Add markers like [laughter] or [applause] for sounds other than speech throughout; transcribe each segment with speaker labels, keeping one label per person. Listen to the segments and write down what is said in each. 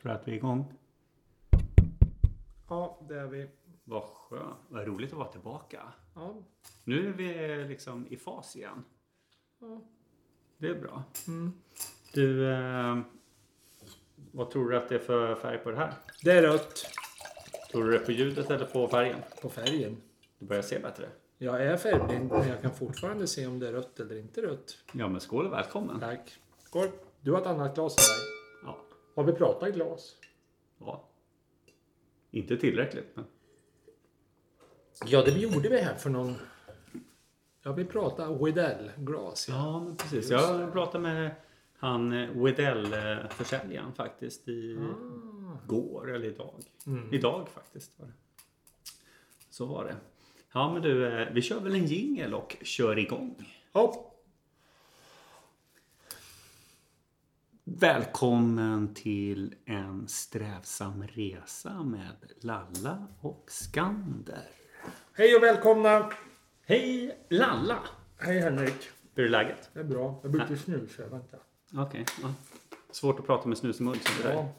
Speaker 1: Tror du att vi är igång?
Speaker 2: Ja, det är vi.
Speaker 1: Vad skönt. Vad roligt att vara tillbaka.
Speaker 2: Ja.
Speaker 1: Nu är vi liksom i fas igen.
Speaker 2: Ja.
Speaker 1: Det är bra.
Speaker 2: Mm.
Speaker 1: Du, eh, vad tror du att det är för färg på det här?
Speaker 2: Det är rött.
Speaker 1: Tror du det är på ljudet eller på färgen?
Speaker 2: På färgen.
Speaker 1: Du börjar se bättre.
Speaker 2: Jag är färgblind, men jag kan fortfarande se om det är rött eller inte rött.
Speaker 1: Ja, men skål och välkommen.
Speaker 2: Tack. Skål. Du har ett annat glas än mig.
Speaker 1: Ja.
Speaker 2: Har vi pratat glas?
Speaker 1: ja. Inte tillräckligt, men
Speaker 2: Ja, det gjorde vi här för någon... Ja, vi pratade Widell-glas. Ja.
Speaker 1: Ja, men precis. Jag pratade med han eh, Wedell-försäljaren faktiskt i Ah. går eller idag. Idag faktiskt var det. Så var det. Ja, men du, eh, vi kör väl en jingel och kör igång.
Speaker 2: Ja.
Speaker 1: Välkommen till en strävsam resa med Lalla och Skander.
Speaker 2: Hej och välkomna!
Speaker 1: Hej Lalla!
Speaker 2: Hej Henrik.
Speaker 1: Hur är läget?
Speaker 2: Det är bra. Jag bytte snus här, vänta.
Speaker 1: Okej. ja. Svårt att prata med snus i mun som det där.
Speaker 2: Ja.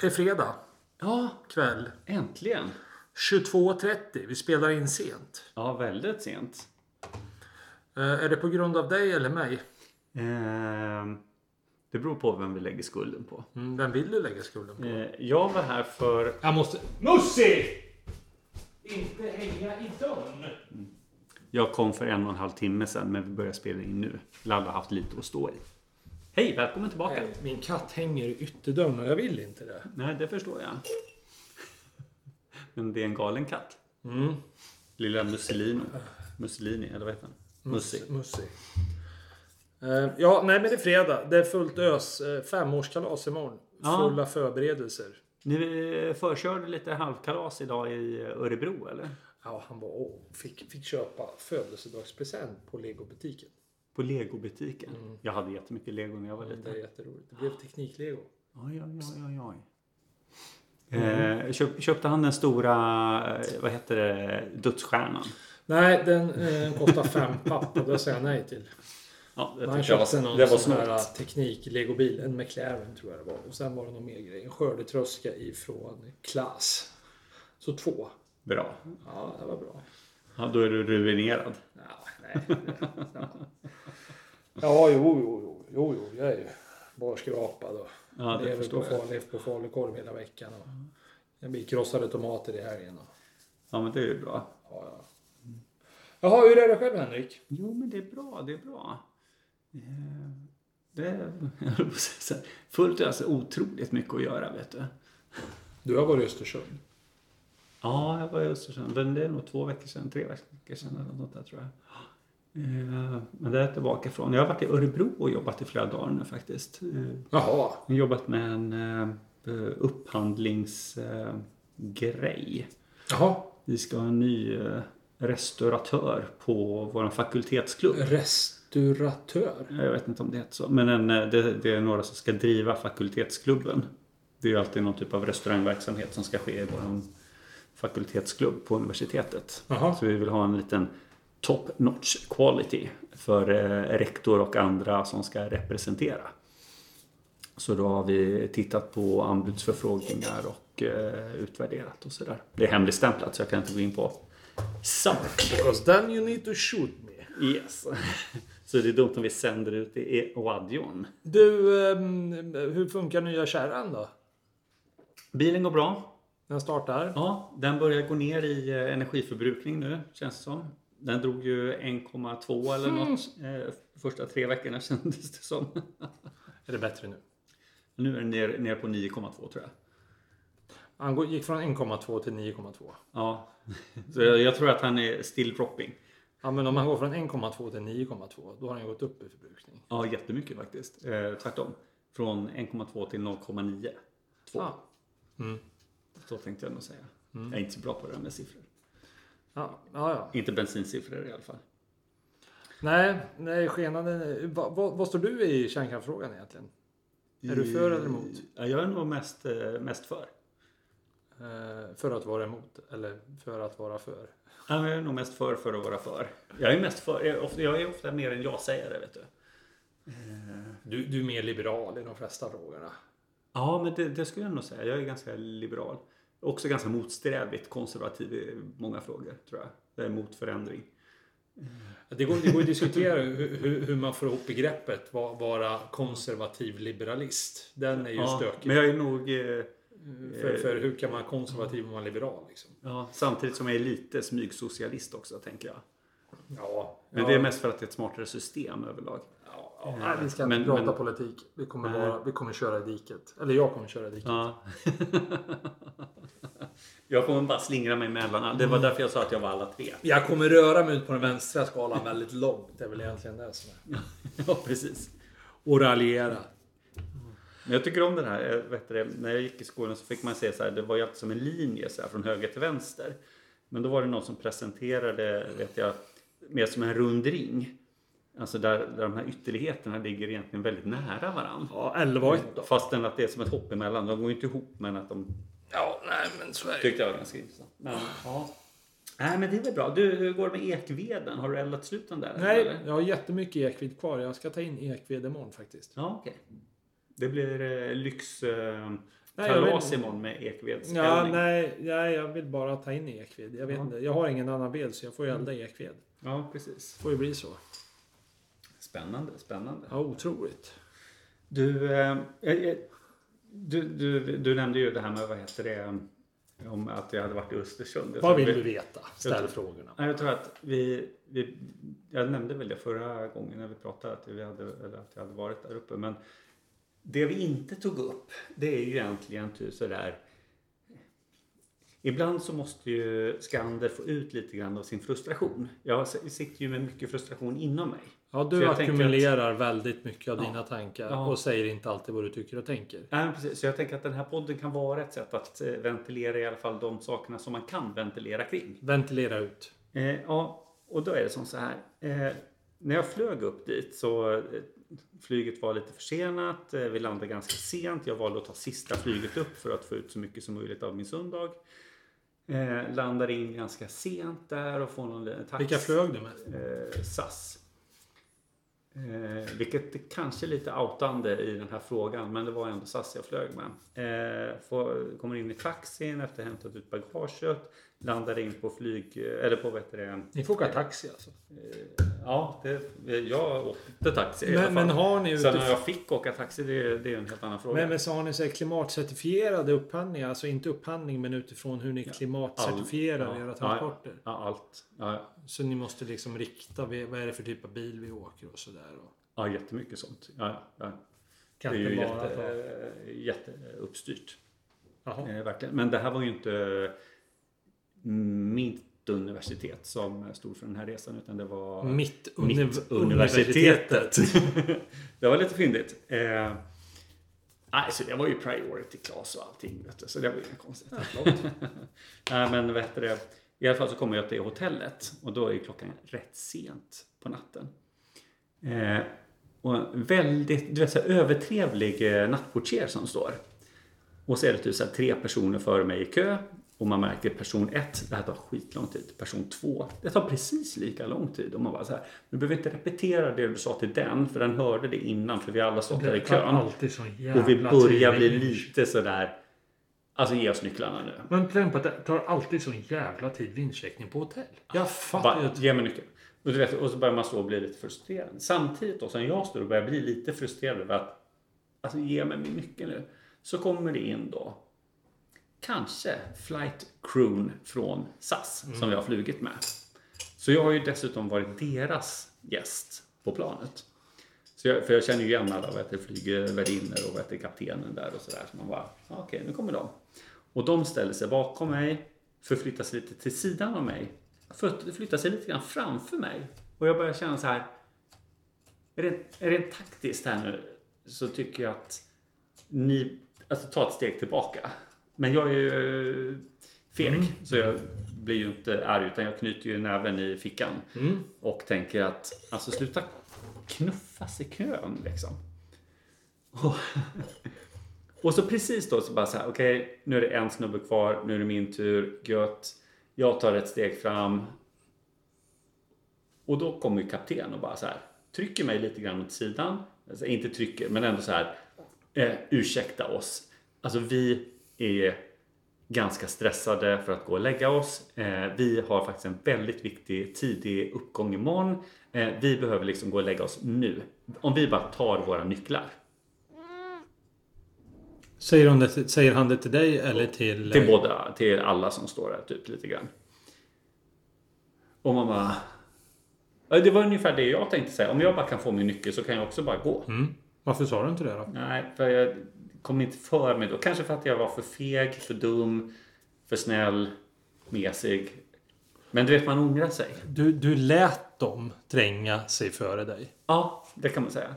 Speaker 2: Det är fredag
Speaker 1: Ja,
Speaker 2: kväll.
Speaker 1: äntligen!
Speaker 2: 22.30. Vi spelar in sent.
Speaker 1: Ja, väldigt sent.
Speaker 2: Eh, Är det på grund av dig eller mig?
Speaker 1: Ehm, det beror på vem vi lägger skulden på.
Speaker 2: Mm, vem vill du lägga skulden på?
Speaker 1: Eh, jag var här för...
Speaker 2: Jag måste...
Speaker 1: Mussi!
Speaker 2: Inte hänga i dörren!
Speaker 1: Jag kom för en och en halv timme sedan men vi börjar spela in nu. Lalla har haft lite att stå i. Hej, välkommen tillbaka!
Speaker 2: Min katt hänger i ytterdörren och jag vill inte det.
Speaker 1: Nej, det förstår jag. [laughs] Men det är en galen katt.
Speaker 2: Mm.
Speaker 1: Lilla Mussolino. Mussolini, eller vad heter han? Mussi.
Speaker 2: Mussi. Eh, Ja, nej men det är fredag. Det är fullt ös. Eh, Femårskalas imorgon.
Speaker 1: Ja.
Speaker 2: Fulla förberedelser.
Speaker 1: Ni eh, förkörde lite halvkalas idag i eh, Örebro, eller?
Speaker 2: Ja, han var och fick, fick köpa födelsedagspresent på legobutiken.
Speaker 1: På legobutiken. Jag hade jättemycket lego när jag var liten.
Speaker 2: Det är jätteroligt. Det blev tekniklego.
Speaker 1: Oj, oj, oj, oj, oj. Eh, köp, köpte han den stora, eh, vad heter det, dödsstjärnan?
Speaker 2: Nej, den eh, kostar fem papp och det säger jag nej till.
Speaker 1: Ja, det,
Speaker 2: Man
Speaker 1: tyckte jag
Speaker 2: köpte någon
Speaker 1: det var
Speaker 2: sån
Speaker 1: snålt.
Speaker 2: här teknik-legobil. En McLaren tror jag det var. Och sen var det någon mer grej. En skördetröska ifrån Klas. Så två.
Speaker 1: Bra.
Speaker 2: Ja, det var bra.
Speaker 1: Ja, då är du ruinerad.
Speaker 2: Ja, nej. det- Ja, ja jo, jo, jo, jo, jo, jag är ju bara skrapad och
Speaker 1: Ja, det
Speaker 2: lever på
Speaker 1: förstår jag.
Speaker 2: farlig, på falukorv hela veckan. Och jag blir krossade tomater i helgen. Och,
Speaker 1: Ja, men det är ju bra.
Speaker 2: ja, ja. Jaha, hur är det själv Henrik?
Speaker 1: Jo, men det är bra, det är bra. Eh, Det är, [laughs] jag höll på att säga så här, fullt alltså otroligt mycket att göra, vet du.
Speaker 2: Du har varit i Östersund.
Speaker 1: Ja, jag var i Östersund. Men det är nog två veckor sedan, tre veckor sedan eller något där tror jag. Eh, Men det är jag tillbaka från. Jag har varit i Örebro och jobbat i flera dagar nu faktiskt. Eh,
Speaker 2: Jaha.
Speaker 1: Jag har jobbat med en eh, upphandlingsgrej.
Speaker 2: Jaha.
Speaker 1: Vi ska ha en ny eh, restauratör på vår fakultetsklubb.
Speaker 2: Restauratör.
Speaker 1: Eh, Jag vet inte om det heter så, men en, eh, det, det är några som ska driva fakultetsklubben. Det är ju alltid någon typ av restaurangverksamhet som ska ske i vår fakultetsklubb på universitetet.
Speaker 2: Jaha.
Speaker 1: Så vi vill ha en liten top notch quality för eh, rektor och andra som ska representera. Så då har vi tittat på anbudsförfrågningar och eh, utvärderat och sådär. Det är hemligstämplat så jag kan inte gå in på sak.
Speaker 2: Because then you need to shoot me.
Speaker 1: Yes. [laughs] Så det är dumt om vi sänder ut det i radion.
Speaker 2: Du, ehm, hur funkar nya kärran då?
Speaker 1: Bilen går bra.
Speaker 2: Den startar?
Speaker 1: Ja, den börjar gå ner i eh, energiförbrukning nu, känns det som. Den drog ju 1,2 eller något eh, första tre veckorna [laughs] kändes det som.
Speaker 2: Är det bättre nu?
Speaker 1: Nu är den ner, ner på 9,2 tror jag.
Speaker 2: Han går- gick från 1,2 till 9,2.
Speaker 1: Ja, [laughs] så jag, jag tror att han är still dropping.
Speaker 2: Ja, men om han går från 1,2 till 9,2 då har han gått upp i förbrukning.
Speaker 1: Ja, jättemycket faktiskt. Eh, tvärtom. Från 1,2 till 0,9. Två.
Speaker 2: Ja. Mm.
Speaker 1: Så tänkte jag nog säga. Jag är inte så bra på det där med siffror.
Speaker 2: Ja, ja, ja.
Speaker 1: Inte bensinsiffror i alla fall.
Speaker 2: Nej, nej, skenande. Vad va, vad står du i kärnkraftsfrågan egentligen? Är du för eller emot?
Speaker 1: Ja, jag är nog mest, eh, mest för.
Speaker 2: Eh, för att vara emot eller för att vara för?
Speaker 1: Ja, men Jag är nog mest för för att vara för. Jag är mest för. Jag är ofta, jag är ofta mer än jag säger det, vet du.
Speaker 2: Du, du är mer liberal i de flesta frågorna.
Speaker 1: Ja, men det, det skulle jag nog säga. Jag är ganska liberal. Också ganska motsträvigt konservativ i många frågor, tror jag. Jag är emot förändring.
Speaker 2: Det går, det går att diskutera hur, hur- hur man får ihop begreppet va- vara konservativ liberalist. Den är ju
Speaker 1: Ja,
Speaker 2: stökig.
Speaker 1: men jag är nog... eh,
Speaker 2: För, för hur kan man vara konservativ om man är liberal? Liksom?
Speaker 1: Ja, samtidigt som jag är lite smygsocialist också, tänker jag.
Speaker 2: Ja,
Speaker 1: Men
Speaker 2: ja,
Speaker 1: det är mest för att det är ett smartare system överlag.
Speaker 2: ja, ja.
Speaker 3: Nej, vi ska inte
Speaker 1: Men-
Speaker 3: prata
Speaker 1: men-
Speaker 3: politik. Vi kommer,
Speaker 1: Nej.
Speaker 3: bara, vi kommer köra i diket. Eller jag kommer köra i diket.
Speaker 1: Ja. [laughs] jag kommer bara slingra mig mellan. alla. Det var därför jag sa att jag var alla tre.
Speaker 2: Jag kommer röra mig ut på den vänstra skalan väldigt långt. Det är väl egentligen det som är.
Speaker 1: [laughs] Ja, precis.
Speaker 2: Och raljera.
Speaker 1: Men jag tycker om den här. eh, Vet du, det, när jag gick i skolan så fick man se så här. Det var ju alltid som en linje så här, från höger till vänster. Men då var det någon som presenterade, vet jag, mer som en rund ring. Alltså där, där de här ytterligheterna ligger egentligen väldigt nära varandra.
Speaker 2: Ja, 11 då.
Speaker 1: Fastän att det är som ett hopp emellan. De går ju inte ihop men att de
Speaker 2: Ja, nej men så är det.
Speaker 1: tyckte jag var ganska intressant. Men, ja. Nej men det är väl bra. Du, hur går det med ekveden? Har du eldat slut den där?
Speaker 2: Nej,
Speaker 1: eller?
Speaker 2: jag har jättemycket ekvid kvar. Jag ska ta in ekvid imorgon faktiskt.
Speaker 1: Ja, okej. Det blir eh, lyx... Eh,
Speaker 2: Nej, jag
Speaker 1: kalas
Speaker 2: vill-
Speaker 1: imorgon med ekvedseldning.
Speaker 2: Ja, nej, nej, jag vill bara ta in ekvid. Jag, vet
Speaker 1: Ja.
Speaker 2: inte, jag har ingen annan ved så jag får ju elda ekvid.
Speaker 1: Ja, precis.
Speaker 2: får ju bli så.
Speaker 1: Spännande, spännande.
Speaker 2: Ja, otroligt.
Speaker 1: Du, eh, eh, du, du, du nämnde ju det här med, vad heter det, om att jag hade varit i Östersund. Jag
Speaker 2: Vad
Speaker 1: tror
Speaker 2: vill
Speaker 1: vi-
Speaker 2: du veta? Ställ frågorna.
Speaker 1: Nej, Jag tror att vi, vi, jag nämnde väl det förra gången när vi pratade att, vi hade, eller att jag hade varit där uppe. Men det vi inte tog upp, det är ju egentligen typ sådär. Ibland så måste ju Skander få ut lite grann av sin frustration. Jag sitter ju med mycket frustration inom mig.
Speaker 2: Ja,
Speaker 1: Så
Speaker 2: du
Speaker 1: jag tänker
Speaker 2: ackumulerar väldigt mycket av dina tankar
Speaker 1: Ja.
Speaker 2: och säger inte alltid vad du tycker och tänker.
Speaker 1: Nej, men precis. Så jag tänker att den här podden kan vara ett sätt att eh, ventilera i alla fall de sakerna som man kan ventilera kring.
Speaker 2: Ventilera ut.
Speaker 1: Eh, ja, och då är det som så här. Eh, när jag flög upp dit så eh, flyget var lite försenat. Eh, vi landade ganska sent. Jag valde att ta sista flyget upp för att få ut så mycket som möjligt av min söndag. Eh, landade in ganska sent där och får någon liten taxi.
Speaker 2: Vilka flög du med?
Speaker 1: Eh, SAS. Eh, vilket är kanske är lite outande i den här frågan, men det var ändå SAS jag flög med. Eh, får, kommer in i taxin efter att ha hämtat ut bagaget. Landar in på flyg... Eller på vad heter det?
Speaker 2: Ni får åka taxi alltså.
Speaker 1: Ja, det, jag åkte taxi i alla
Speaker 2: Men,
Speaker 1: fall.
Speaker 2: men har ni
Speaker 1: Sen när
Speaker 2: utifrån...
Speaker 1: jag fick åka taxi, det, det är en helt annan fråga.
Speaker 2: Men, men så har ni så här klimatcertifierade upphandlingar, alltså inte upphandling men utifrån hur ni klimatcertifierar
Speaker 1: All- ja.
Speaker 2: era transporter.
Speaker 1: Ja, allt. Ja,
Speaker 2: Så ni måste liksom rikta, vi- vad är det för typ av bil vi åker och sådär. och-
Speaker 1: ja, jättemycket sånt. Ja, ja. Det
Speaker 2: Kan
Speaker 1: är ju
Speaker 2: inte bara
Speaker 1: jätte,
Speaker 2: ta-
Speaker 1: eh, jätteuppstyrt.
Speaker 2: Jaha.
Speaker 1: Eh, verkligen. Men det här var ju inte mm, mitt universitet som stod för den här resan utan det var
Speaker 2: Mitt,
Speaker 1: mitt
Speaker 2: univ-
Speaker 1: universitetet. [laughs] det var lite fyndigt. Eh, nej, så det var ju priority class och allting. Vet du, så det var ju inga konstigheter. [laughs] nej, men vad heter det? I alla fall så kommer jag till hotellet och då är ju klockan rätt sent på natten. Eh, och en väldigt du vet, så här, övertrevlig eh, nattportier som står. Och så är det typ så här, tre personer före mig i kö. Och man märker person ett, det här tar skitlång tid. Person två, det tar precis lika lång tid. Och man bara så här, du behöver inte repetera det du sa till den, för den hörde det innan, för vi har alla stått där i
Speaker 2: Det är
Speaker 1: kön.
Speaker 3: Alltid sån jävla
Speaker 1: Och vi
Speaker 3: tid.
Speaker 1: börjar bli lite sådär, alltså ge oss nycklarna nu.
Speaker 3: Men tänk på att det tar alltid sån jävla tid vid incheckning på hotell.
Speaker 2: Jag fattar ju
Speaker 1: Bara,
Speaker 2: att
Speaker 1: ge mig nyckeln. Och, du vet, och så börjar man stå och bli lite frustrerad. Samtidigt då som jag står och börjar bli lite frustrerad över att alltså, ge mig min nyckel nu. Så kommer det in då kanske flight crewn från SAS
Speaker 2: Mm.
Speaker 1: som jag har flugit med. Så jag har ju dessutom varit deras gäst på planet. Så jag, för jag känner ju igen alla, vad heter flygvärdinnor och vad heter kaptenen där och sådär. Så man bara, "Ja, okej nu kommer de. Och de ställer sig bakom mig, förflyttar sig lite till sidan av mig. för- Flyttar sig lite grann framför mig. Och jag börjar känna så här, rent, rent taktiskt här nu så tycker jag att ni, alltså ta ett steg tillbaka. Men jag är ju eh, feg, så jag blir ju inte arg utan jag knyter ju näven i fickan. Och tänker att, alltså sluta knuffas i kön liksom. Och, och så precis då så bara så här, okej nu är det en snubbe kvar, nu är det min tur, gött. Jag tar ett steg fram, och då kommer ju kapten och bara så här, trycker mig lite grann åt sidan. Alltså, inte trycker, men ändå så här. eh, ursäkta oss. Alltså vi är ganska stressade för att gå och lägga oss. Eh, vi har faktiskt en väldigt viktig tidig uppgång imorgon. Eh, vi behöver liksom gå och lägga oss nu. Om vi bara tar våra nycklar.
Speaker 2: Säger, hon det, säger han det till dig eller till...
Speaker 1: Till båda, till alla som står där typ lite grann. Och man bara... Ja, Det var ungefär det jag tänkte säga. Om jag bara kan få min nyckel så kan jag också bara gå.
Speaker 2: Mm. Varför sa du inte det då?
Speaker 1: Nej, för jag kom inte för mig då. Kanske för att jag var för feg, för dum, för snäll, mesig. Men du vet, man ångrar sig.
Speaker 2: Du, du lät dem tränga sig före dig.
Speaker 1: Ja, det kan man säga.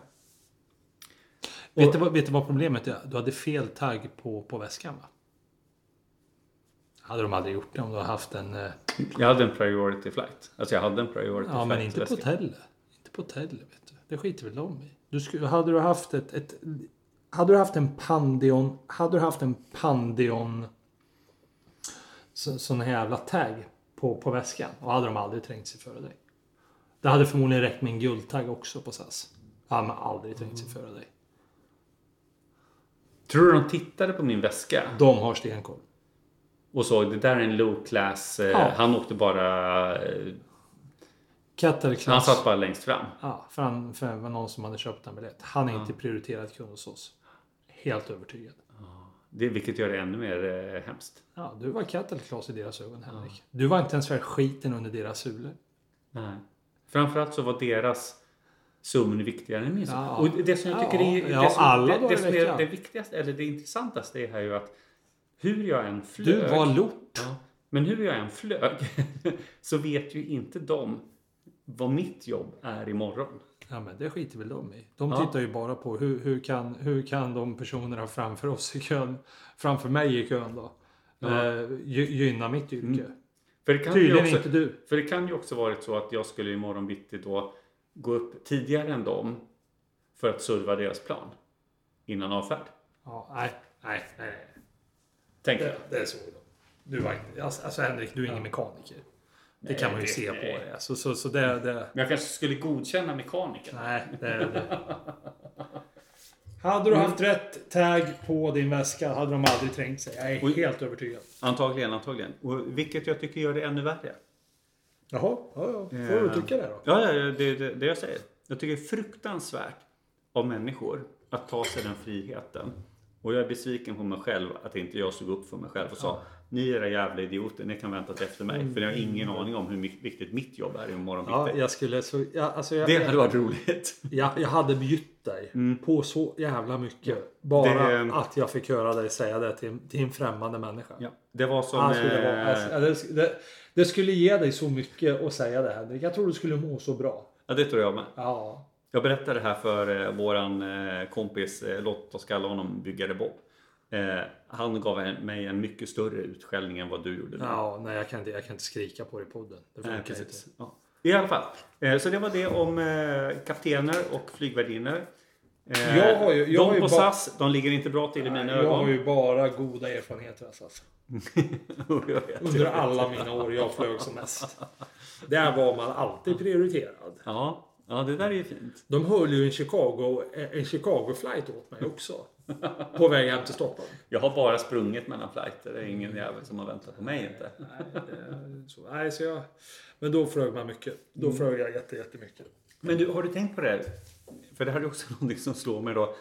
Speaker 2: Vet, du, vad- vet du vad problemet är? Du hade fel tagg på, på väskan va? Hade de aldrig gjort det om du hade haft en... eh,
Speaker 1: Jag hade en priority flight. Alltså jag hade en priority
Speaker 2: Ja,
Speaker 1: flight.
Speaker 2: men inte på hotellet. Inte på hotellet, vet du. Det skiter väl de i. Du skulle, hade du haft ett, ett... Hade du haft en Pandion... Hade du haft en Pandion... så- Sån här jävla tagg på, på väskan. Och hade de aldrig trängt sig före dig. Det hade förmodligen räckt med en guldtagg också på SAS. Ja, men aldrig trängt sig
Speaker 1: Mm.
Speaker 2: före dig.
Speaker 1: Tror du de tittade på min väska
Speaker 2: De har stenkoll.
Speaker 1: och såg det där är en low class. eh,
Speaker 2: Ja.
Speaker 1: Han åkte bara... eh,
Speaker 2: Katt eller
Speaker 1: Han
Speaker 2: klass.
Speaker 1: satt bara längst fram.
Speaker 2: Ja, för, han, för det var någon som hade köpt en biljett. Han är inte prioriterad kund hos oss. Helt övertygad.
Speaker 1: Det, vilket gör det ännu mer eh, hemskt.
Speaker 2: Ja, du var kattelklas i deras ögon, Henrik. Du var inte ens värd skiten under deras sulor.
Speaker 1: Nej. Framförallt så var deras sömn viktigare än min sömn.
Speaker 2: Ja.
Speaker 1: Och det som jag tycker
Speaker 2: Ja.
Speaker 1: är,
Speaker 2: Ja,
Speaker 1: det som,
Speaker 2: alla
Speaker 1: det,
Speaker 2: dagar
Speaker 1: det,
Speaker 2: i
Speaker 1: som är
Speaker 2: veckan.
Speaker 1: det viktigaste, eller det intressantaste är här ju att hur jag än flög.
Speaker 2: Du var lort.
Speaker 1: ja, men hur jag än flög [laughs] så vet ju inte de vad mitt jobb är imorgon.
Speaker 2: Ja, men det skiter väl de i. De
Speaker 1: Ja.
Speaker 2: tittar ju bara på hur, hur, kan, hur kan de personerna framför oss i kön, framför mig i kön då,
Speaker 1: Ja.
Speaker 2: eh, gy, gynna mitt yrke.
Speaker 1: För det kan ju
Speaker 2: Mm. Tydligen
Speaker 1: också,
Speaker 2: inte du.
Speaker 1: För det kan ju också varit så att jag skulle imorgon bitti då gå upp tidigare än dem för att serva deras plan innan avfärd.
Speaker 2: Ja, nej, nej, nej. nej.
Speaker 1: Tänker jag.
Speaker 2: Det, det är så. Du var inte, alltså, alltså Henrik, du är ingen mekaniker. Det
Speaker 1: Nej,
Speaker 2: kan man ju
Speaker 1: det-
Speaker 2: se på
Speaker 1: nej.
Speaker 2: dig. Så, så, så det, det,
Speaker 1: Men jag kanske skulle godkänna mekanikern.
Speaker 2: Nej, det är det. [laughs] Hade du haft rätt tag på din väska hade de aldrig trängt sig. Jag är
Speaker 1: Oj.
Speaker 2: helt övertygad.
Speaker 1: Antagligen, antagligen. Och vilket jag tycker gör det ännu värre.
Speaker 2: Jaha, ja, ja. får
Speaker 1: du
Speaker 2: du
Speaker 1: tycka
Speaker 2: tycka det då.
Speaker 1: Ja, ja, ja, det är det, det jag säger. Jag tycker det är fruktansvärt av människor att ta sig den friheten. Och jag är besviken på mig själv att inte jag såg upp för mig själv och sa Ni era jävla idioter, ni kan vänta till efter
Speaker 2: Mm.
Speaker 1: mig. För jag har ingen aning om hur mi- viktigt mitt jobb är imorgon bitti.
Speaker 2: jag skulle så... Jag, alltså jag,
Speaker 1: Det hade varit roligt.
Speaker 2: jag, jag hade bjudit dig på så jävla mycket.
Speaker 1: Det-
Speaker 2: att jag fick höra dig säga det till, till en främmande människa.
Speaker 1: Ja, det var som...
Speaker 2: Han skulle vara,
Speaker 1: eh,
Speaker 2: alltså, det, sk- det, det skulle ge dig så mycket att säga det Henrik. Jag tror du skulle må så bra.
Speaker 1: ja, det tror jag med.
Speaker 2: Ja.
Speaker 1: Jag berättade det här för eh, våran eh, kompis, eh, låt oss kalla honom Byggare Bob. Eh, han gav en, mig en mycket större utskällning än vad du gjorde. nu.
Speaker 2: Ja, nej jag kan inte, jag kan inte skrika på det i podden. Det
Speaker 1: Nej,
Speaker 2: funkar
Speaker 1: precis.
Speaker 2: inte.
Speaker 1: Ja. I alla fall. Eh, så det var det om eh, kaptener och flygvärdinnor. Eh,
Speaker 2: Jag har ju- jag
Speaker 1: de
Speaker 2: har ju
Speaker 1: på
Speaker 2: ba-
Speaker 1: SAS, de ligger inte bra till i mina
Speaker 2: Jag har
Speaker 1: ögon.
Speaker 2: ju bara goda erfarenheter alltså.
Speaker 1: [laughs] Jag vet.
Speaker 2: Under alla mina år jag flög som mest. Där var man alltid prioriterad.
Speaker 1: ja. ja, det där är ju fint.
Speaker 2: De höll ju en Chicago, en Chicago flight åt mig också. På väg hem till Stockholm.
Speaker 1: Jag har bara sprungit mellan flighter. Det är ingen jävel som har väntat på mig inte.
Speaker 2: Så, nej, så jag, men då flög man mycket. Då
Speaker 1: Mm.
Speaker 2: flög jag jätte, jättemycket.
Speaker 1: Men du, har du tänkt på det? För det här är också [laughs] någonting som slår mig då.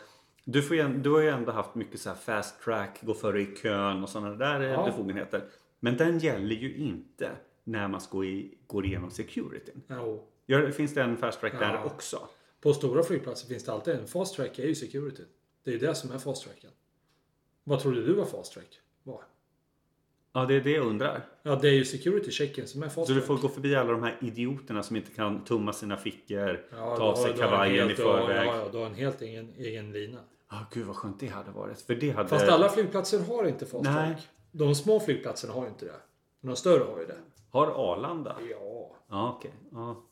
Speaker 1: Du, får ju, en- du har ju ändå haft mycket så här fast track, gå före i kön och sådana där ja.
Speaker 2: Ja.
Speaker 1: befogenheter. Men den gäller ju inte när man ska i, går igenom securityn.
Speaker 2: Ja, och
Speaker 1: Gör, finns det en fast track där
Speaker 2: Ja.
Speaker 1: också?
Speaker 2: på stora flygplatser finns det alltid en fast track. är ju security. Det är ju det som är fast tracken. Vad trodde du var fast track? Var?
Speaker 1: Ja, det är det jag undrar.
Speaker 2: Ja, det är ju security checken som är fast
Speaker 1: Så du
Speaker 2: track.
Speaker 1: får gå förbi alla de här idioterna som inte kan tumma sina fickor,
Speaker 2: Ja,
Speaker 1: ta
Speaker 2: då
Speaker 1: av sig
Speaker 2: har- då har en
Speaker 1: kavajen i
Speaker 2: helt- då har-
Speaker 1: förväg.
Speaker 2: Ja, ja, du har en helt egen, egen lina.
Speaker 1: Ah, gud vad skönt det hade varit. För det hade...
Speaker 2: Fast alla flygplatser har inte fast
Speaker 1: Nej.
Speaker 2: track. De små flygplatserna har ju inte det. Men de större har ju det.
Speaker 1: Har Arlanda?
Speaker 2: Ja.
Speaker 1: Ja, okej. Ja.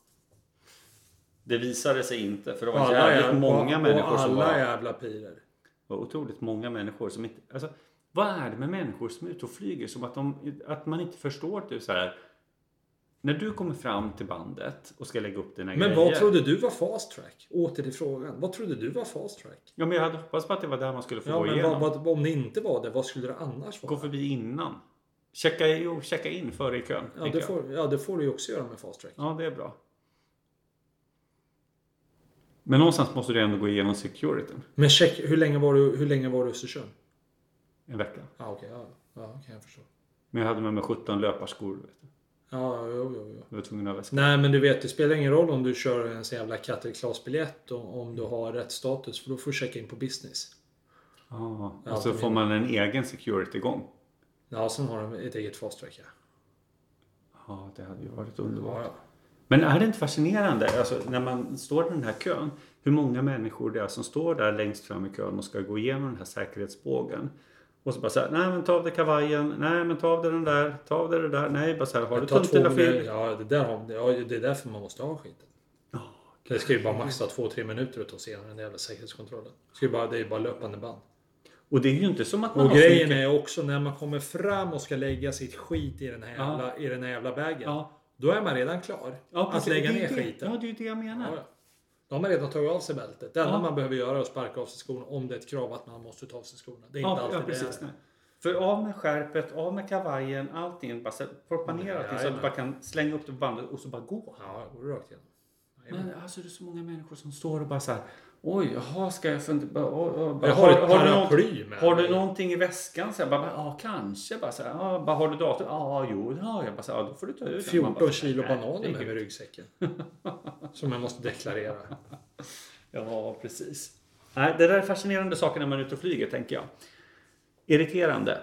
Speaker 1: Det visade sig inte, för det
Speaker 2: Och
Speaker 1: var jävligt
Speaker 2: jävla-
Speaker 1: många
Speaker 2: och,
Speaker 1: människor
Speaker 2: och
Speaker 1: som
Speaker 2: alla
Speaker 1: var...
Speaker 2: jävla pirer.
Speaker 1: var otroligt många människor som inte... Alltså, vad är det med människor som är ute och flyger som att, de, att man inte förstår typ så här... När du kommer fram till bandet och ska lägga upp dina
Speaker 2: Men
Speaker 1: grejer.
Speaker 2: vad trodde du var fast track? Åter till frågan. Vad trodde du var fast track?
Speaker 1: Ja, men jag hade hoppats på att det var där man skulle få
Speaker 2: Ja,
Speaker 1: gå
Speaker 2: men
Speaker 1: igenom.
Speaker 2: vad, vad, om det inte var det, vad skulle det annars
Speaker 1: Gå
Speaker 2: vara?
Speaker 1: förbi innan. Checka, jo, checka in före i kön.
Speaker 2: Ja
Speaker 1: tänker
Speaker 2: det,
Speaker 1: jag.
Speaker 2: får, ja, det får du ju också göra med fast track.
Speaker 1: ja, det är bra. Men någonstans måste du ändå gå igenom securityn.
Speaker 2: Men check, hur länge var du, hur länge var du i Östersund?
Speaker 1: En vecka.
Speaker 2: Ah, okej, ja, ja, okej, jag förstår.
Speaker 1: Men jag hade med mig 17 löparskor. Vet du.
Speaker 2: Ja, jo, jo, jo.
Speaker 1: Jag var tvungen att ha väska.
Speaker 2: Nej, men du vet, det spelar ingen roll om du kör en sån jävla katt eller klassbiljett och om du
Speaker 1: Mm.
Speaker 2: har rätt status, för då får du checka in på business.
Speaker 1: Ah, Ja,
Speaker 2: Ja,
Speaker 1: och så
Speaker 2: det
Speaker 1: får
Speaker 2: är-
Speaker 1: man en egen security-gång.
Speaker 2: Ja, sen har de ett eget fast track, ja.
Speaker 1: Ja, det hade ju varit underbart.
Speaker 2: Ja, ja.
Speaker 1: Men är det inte fascinerande, alltså, när man står i den här kön, hur många människor det är som står där längst fram i kön och ska gå igenom den här säkerhetsbågen. Och så bara så här, nej men ta av dig kavajen, nej men ta av dig den där, ta av dig det där, nej bara så här, har du
Speaker 2: Det tar
Speaker 1: tömt
Speaker 2: två
Speaker 1: dina
Speaker 2: minuter.
Speaker 1: fel?
Speaker 2: Ja, det, där har, ja, det är därför man måste ha skiten. Det ska ju bara maxa två, tre minuter att ta sig igenom den jävla säkerhetskontrollen. Det, ska ju bara, det är ju bara löpande band.
Speaker 1: Och det är ju inte som att man
Speaker 2: Och
Speaker 1: har så
Speaker 2: grejen
Speaker 1: mycket-
Speaker 2: är också när man kommer fram och ska lägga sitt skit i den här
Speaker 1: Ja.
Speaker 2: jävla, i den här jävla bagen.
Speaker 1: Ja.
Speaker 2: Då är man redan klar
Speaker 1: ja,
Speaker 2: att
Speaker 1: precis,
Speaker 2: lägga
Speaker 1: Alltså, det är
Speaker 2: ner
Speaker 1: ju det.
Speaker 2: skiten.
Speaker 1: Ja, det är ju det jag menar.
Speaker 2: Ja, ja. Då har man redan tagit av sig bältet. Det enda
Speaker 1: Ja.
Speaker 2: man behöver göra är att sparka av sig skorna om det är ett krav att man måste ta av sig skorna. Det är inte
Speaker 1: Ja,
Speaker 2: alltid
Speaker 1: ja,
Speaker 2: precis.
Speaker 1: precis. Nej. För av med skärpet, av med kavajen, allting. Bara så här, proppa ner allting så att du
Speaker 2: Jajamän.
Speaker 1: bara kan slänga upp det på bandet och så bara gå.
Speaker 2: det är. Ja, går det rakt igenom.
Speaker 1: Men alltså det är så många människor som står och bara så här. Oj, jaha, ska jag fundera? Bara, oj, oj, bara,
Speaker 2: Jag har ett
Speaker 1: du
Speaker 2: paraply
Speaker 1: något-
Speaker 2: med
Speaker 1: Har du
Speaker 2: mig."
Speaker 1: någonting i väskan? Så jag bara, bara, ja, kanske. Bara så här, ja, bara, har du datorn? Ja, jo, det har jag. Bara så här, ja, då får du ta ut den. Man bara,
Speaker 2: 14 kilo
Speaker 1: "Nej,
Speaker 2: bananer med mig i
Speaker 1: herregud."
Speaker 2: ryggsäcken. Som jag måste deklarera.
Speaker 1: Ja, precis. Nej, det där är fascinerande saker när man är ute och flyger, tänker jag. Irriterande.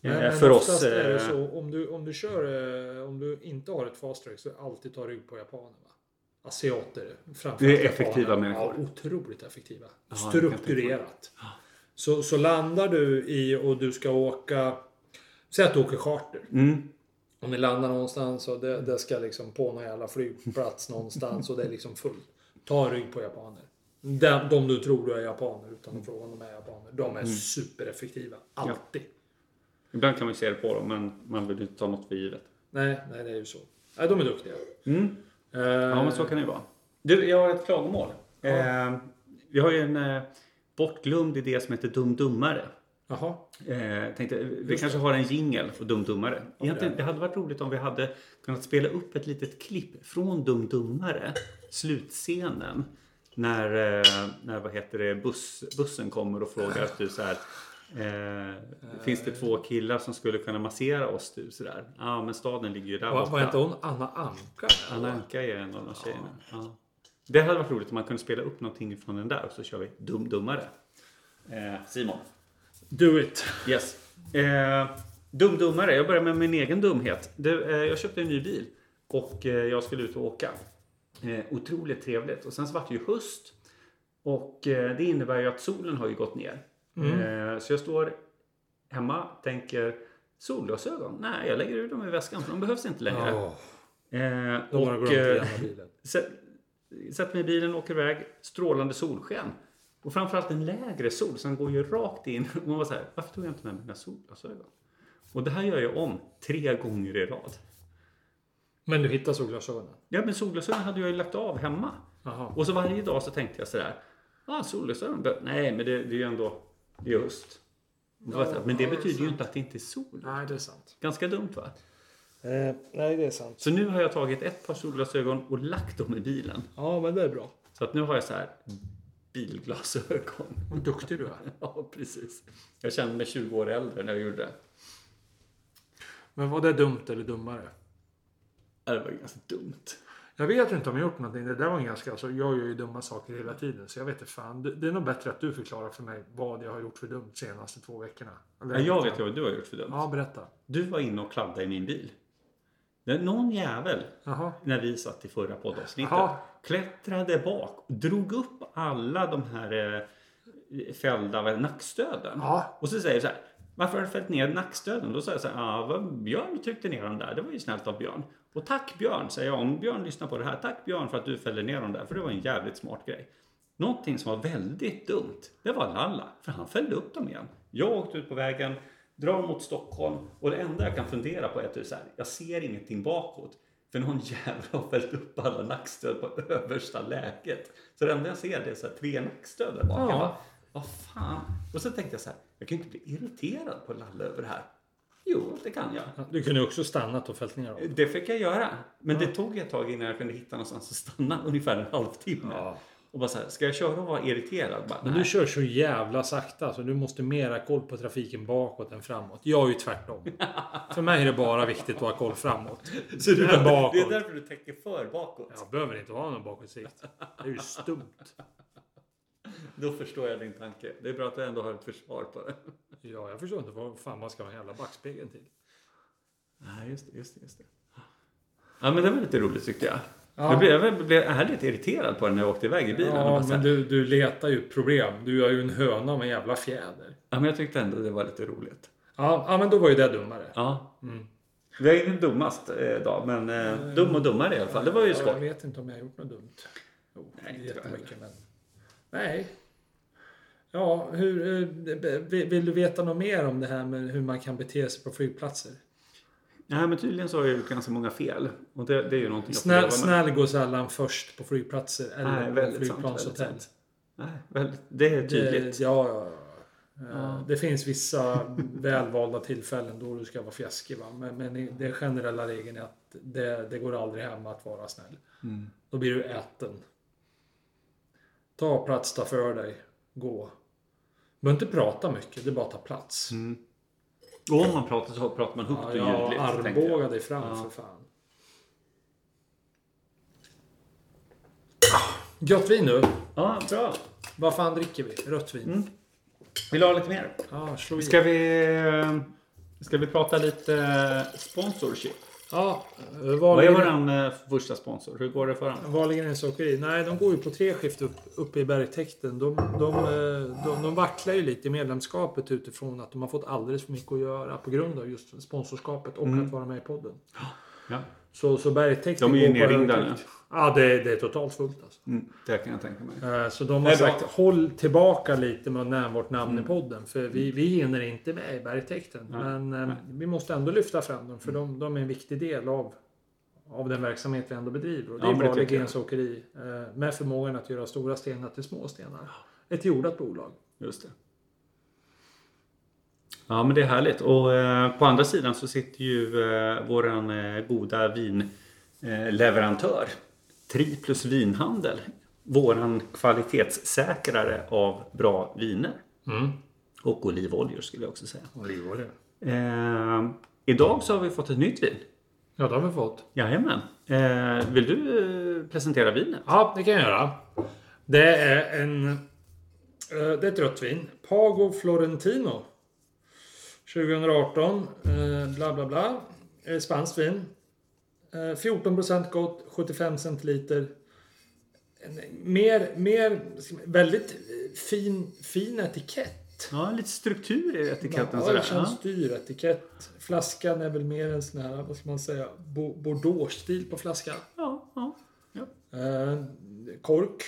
Speaker 2: Men,
Speaker 1: eh,
Speaker 2: men
Speaker 1: för oss.
Speaker 2: oftast är det
Speaker 1: eh,
Speaker 2: så om du, om du kör, eh, om du inte har ett fast track så alltid ta rygg på japaner. Va? Asiater framför
Speaker 1: Det är
Speaker 2: allt japaner.
Speaker 1: effektiva människor.
Speaker 2: Ja, otroligt effektiva.
Speaker 1: jag kan tänka mig.
Speaker 2: Strukturerat. Så, så landar du i och du ska åka, säg att du åker charter.
Speaker 1: Mm,
Speaker 2: Om ni landar någonstans och det, det ska liksom på någon jävla flygplats någonstans och det är liksom fullt. Ta rygg på japaner. De, de du tror är japaner utan
Speaker 1: Mm.
Speaker 2: att fråga om de är japaner. De är supereffektiva. Alltid.
Speaker 1: ibland kan man ju se det på dem, men man vill ju inte ta något för givet.
Speaker 2: Nej, nej, det är ju så. Nej, de är duktiga.
Speaker 1: Mm.
Speaker 2: Eh,
Speaker 1: Ja, men så kan det ju vara. Du, jag har ett klagomål. Eh, vi har ju en eh, bortglömd idé som heter Dum Dummare.
Speaker 2: Jaha.
Speaker 1: Eh, tänkte, vi kanske har en jingel för Dum Dummare. Egentligen, det hade varit roligt om vi hade kunnat spela upp ett litet klipp från Dum Dummare, slutscenen. När, eh, när vad heter det, buss, bussen kommer och frågar typ så här. Eh, finns det två killar som skulle kunna massera oss? Typ sådär. Ja, ah, men staden ligger ju där
Speaker 2: Var, var
Speaker 1: borta.
Speaker 2: inte hon Anna Anka?
Speaker 1: Anna Anka är en av de tjejerna. Ja. Det hade varit roligt om man kunde spela upp någonting från den där och så kör vi Dum Dummare. Eh, Simon.
Speaker 2: Do it.
Speaker 1: Yes. Eh, dum Dummare. Jag börjar med min egen dumhet. Du, eh, jag köpte en ny bil och eh, jag skulle ut och åka. Eh, otroligt trevligt. Och sen så vart det ju höst. Och eh, det innebär ju att solen har ju gått ner.
Speaker 2: Mm.
Speaker 1: Eh, så jag står hemma, tänker solglasögon? Nej, jag lägger ur dem i väskan för de behövs inte längre.
Speaker 2: Ja,
Speaker 1: Eh,
Speaker 2: de har
Speaker 1: och,
Speaker 2: glömt
Speaker 1: eh,
Speaker 2: lämna bilen.
Speaker 1: Sätt- Sätter mig i bilen och åker iväg. Strålande solsken. Och framförallt en lägre sol som går ju rakt in. Och man var så här, varför tog jag inte med mina solglasögon? Och det här gör jag om tre gånger i rad.
Speaker 2: Men du hittar solglasögonen?
Speaker 1: Ja, men solglasögon hade jag ju lagt av hemma.
Speaker 2: Jaha.
Speaker 1: Och så varje dag så tänkte jag sådär. Ah, solglasögon. be- Nej, men det, det är ju ändå... Det är höst. Och så var jag så här, men det betyder ju inte att det inte är sol.
Speaker 2: Nej, det är sant.
Speaker 1: Ganska dumt va?
Speaker 4: Eh,
Speaker 2: nej, det är sant.
Speaker 1: Så nu har jag tagit ett par solglasögon och lagt dem i bilen.
Speaker 2: Ja, men det är bra.
Speaker 1: Så att nu har jag så här bilglasögon.
Speaker 2: Vad duktig du är.
Speaker 1: Ja, precis. Jag kände mig 20 år äldre när jag gjorde det.
Speaker 4: Men var det dumt eller dummare?
Speaker 1: Ja, Det var ganska dumt.
Speaker 4: Jag vet inte om jag gjort någonting. Det där var en ganska... Alltså, jag gör ju dumma saker hela tiden. Så jag vet inte fan. Det det är nog bättre att du förklarar för mig vad jag har gjort för dumt de senaste två veckorna. Eller-
Speaker 1: Ja, jag vet ju vad du har gjort för dumt.
Speaker 4: Ja, berätta.
Speaker 1: Du var inne och kladdade i min bil. Det är Någon jävel,
Speaker 4: Jaha.
Speaker 1: när vi satt i förra poddavsnittet,
Speaker 4: Jaha.
Speaker 1: klättrade bak och drog upp alla de här eh, fällda vad- nackstöden.
Speaker 4: Ja.
Speaker 1: Och så säger du så här, varför har du fällt ner nackstöden? Då säger jag så här, ah, vad Björn tryckte ner dem där, det var ju snällt av Björn. Och tack Björn, säger jag om Björn lyssnar på det här, tack Björn för att du fällde ner dem där, för det var en jävligt smart grej. Någonting som var väldigt dumt, det var Lalla, för han fällde upp dem igen. Jag åkte ut på vägen, drar mot Stockholm och det enda jag kan fundera på är att det är så här, jag ser ingenting bakåt. För någon [laughs] jävla har fällt upp alla nackstöd på översta läget. Så det enda jag ser det är så här, tre nackstöd där bak.
Speaker 2: Ja.
Speaker 1: Jag bara, vad fan? Och så tänkte jag så här, jag kan ju inte bli irriterad på Lalle över det här. Jo, det kan jag.
Speaker 2: Du kunde också stannat och fällt ner dem.
Speaker 1: Det fick jag göra. Men det tog ett tag innan jag kunde hitta någonstans att stanna. [laughs] Ungefär en halvtimme. Och bara så här, ska jag köra och vara irriterad? Bara,
Speaker 2: Men
Speaker 1: nej.
Speaker 2: du kör så jävla sakta så du måste mera koll på trafiken bakåt än framåt. Jag är
Speaker 1: [laughs]
Speaker 2: ju tvärtom. För mig är det bara viktigt att ha koll framåt.
Speaker 1: Så du,
Speaker 2: det är
Speaker 1: [laughs]
Speaker 2: bakåt.
Speaker 1: det är därför du tänker för bakåt.
Speaker 2: Jag behöver inte ha någon bakåtsikt. Det är ju stumt.
Speaker 1: Då förstår jag din tanke. Det är bra att du ändå har ett försvar på det.
Speaker 2: Ja, jag förstår inte vad fan man ska ha en jävla backspegel till.
Speaker 1: Nej, just det, just det, just det. Ja, men det var lite roligt tyckte jag.
Speaker 2: Ja.
Speaker 1: Jag, blev, jag blev härligt irriterad på den när jag åkte iväg i bilen. och bara
Speaker 2: Ja,
Speaker 1: så här,
Speaker 2: men du, du letar ju problem. Du är ju en höna med en jävla fjäder.
Speaker 1: ja, men jag tyckte ändå det var lite roligt.
Speaker 2: Ja, ja men då var ju det dummare.
Speaker 1: Ja. Mm. Vi är inte dummast eh, idag, men eh, dum och dummare i alla fall. Det var ju
Speaker 2: Ja, Jag
Speaker 1: skoj.
Speaker 2: vet inte om jag har gjort något dumt. Jo,
Speaker 1: Nej,
Speaker 2: Nej,
Speaker 1: inte jag
Speaker 2: jättemycket men... Nej. Ja, hur, eh, vill vill du veta något mer om det här med hur man kan bete sig på flygplatser?
Speaker 1: Nej, men tydligen så har jag gjort ganska många fel. Och det, det är ju någonting jag får
Speaker 2: Snäll,
Speaker 1: leva med.
Speaker 2: snäll går sällan först på flygplatser
Speaker 1: Nej,
Speaker 2: eller på
Speaker 1: väldigt sant,
Speaker 2: flygplanshotell.
Speaker 1: väldigt sant. Nej, väldigt, det är tydligt.
Speaker 2: Det, Eh, ja, ja, ja. Eh, Det finns vissa [laughs] välvalda tillfällen då du ska vara fjäskig. Va? Men, men den generella regeln är att det, det går aldrig hem att vara snäll.
Speaker 1: Mm.
Speaker 2: Då blir du äten. Ta plats, ta för dig, gå. Du behöver inte prata mycket, det är bara att ta plats.
Speaker 1: Mm. Och om man pratar så pratar man högt
Speaker 2: Ja,
Speaker 1: och
Speaker 2: ja,
Speaker 1: ljudligt. tänkte jag.
Speaker 2: armbåga dig fram för fan. Ah, Gött vin nu.
Speaker 1: Ja, bra.
Speaker 2: Vad fan dricker vi? Rött vin.
Speaker 1: Vill du ha lite mer?
Speaker 2: Ah, slå i.
Speaker 1: Ska Mm. vi, eh, ska vi prata lite eh, sponsorship?
Speaker 2: Ja, var
Speaker 1: Vad är
Speaker 2: ligger-
Speaker 1: vår eh, första sponsor? Hur går det för honom?
Speaker 2: Var ligger hennes åkeri? Nej, de går ju på tre skift upp, uppe i bergtäkten. De, de, eh, de, de vacklar ju lite i medlemskapet utifrån att de har fått alldeles för mycket att göra på grund av just sponsorskapet och att vara med i podden.
Speaker 1: Ja.
Speaker 2: Så, så bergtäkten
Speaker 1: Mm. De är ju
Speaker 2: går på
Speaker 1: nerringda
Speaker 2: högtryck. Ja, det, det är totalt fullt alltså.
Speaker 1: Mm, Det kan jag tänka mig.
Speaker 2: Eh, Så de har
Speaker 1: Nej, Mm.
Speaker 2: sagt
Speaker 1: bra.
Speaker 2: håll tillbaka lite med att nämna vårt namn i podden. För vi, vi hinner inte med i bergtäkten. Men eh, vi måste ändå lyfta fram dem. För
Speaker 1: Mm.
Speaker 2: de, de är en viktig del av, av den verksamhet vi ändå bedriver. Och det
Speaker 1: Ja,
Speaker 2: är
Speaker 1: men det
Speaker 2: bra
Speaker 1: tycker
Speaker 2: Grens Åkeri. eh, Med förmågan att göra stora stenar till små stenar. Ett jordat bolag.
Speaker 1: Just det. Ja, men det är härligt. Och eh, på andra sidan så sitter ju eh, våran eh, goda vinleverantör. Eh, leverantör. Triplus vinhandel. Våran kvalitetssäkrare av bra viner. Mm. Och olivoljor skulle jag också säga. Eh, idag så har vi fått ett nytt vin.
Speaker 2: Ja, det har vi fått.
Speaker 1: Jajamän. Eh, vill du eh, presentera vinet?
Speaker 2: Ja, det kan jag göra. Det är en... eh, Det är ett rött vin. Pago Florentino. 2018. eh, Bla, bla, bla. Eh, Spanskt vin. Eh, 14% gott, 75 centiliter. En- Mer, mer, väldigt eh, fin, fin etikett.
Speaker 1: Ja, lite struktur i etiketten
Speaker 2: Ja,
Speaker 1: sådär.
Speaker 2: det känns dyr etikett. Flaskan är väl mer en sån här, vad ska man säga, bo- Bordeaux-stil på flaskan.
Speaker 1: ja, ja. ja.
Speaker 2: Eh, Kork.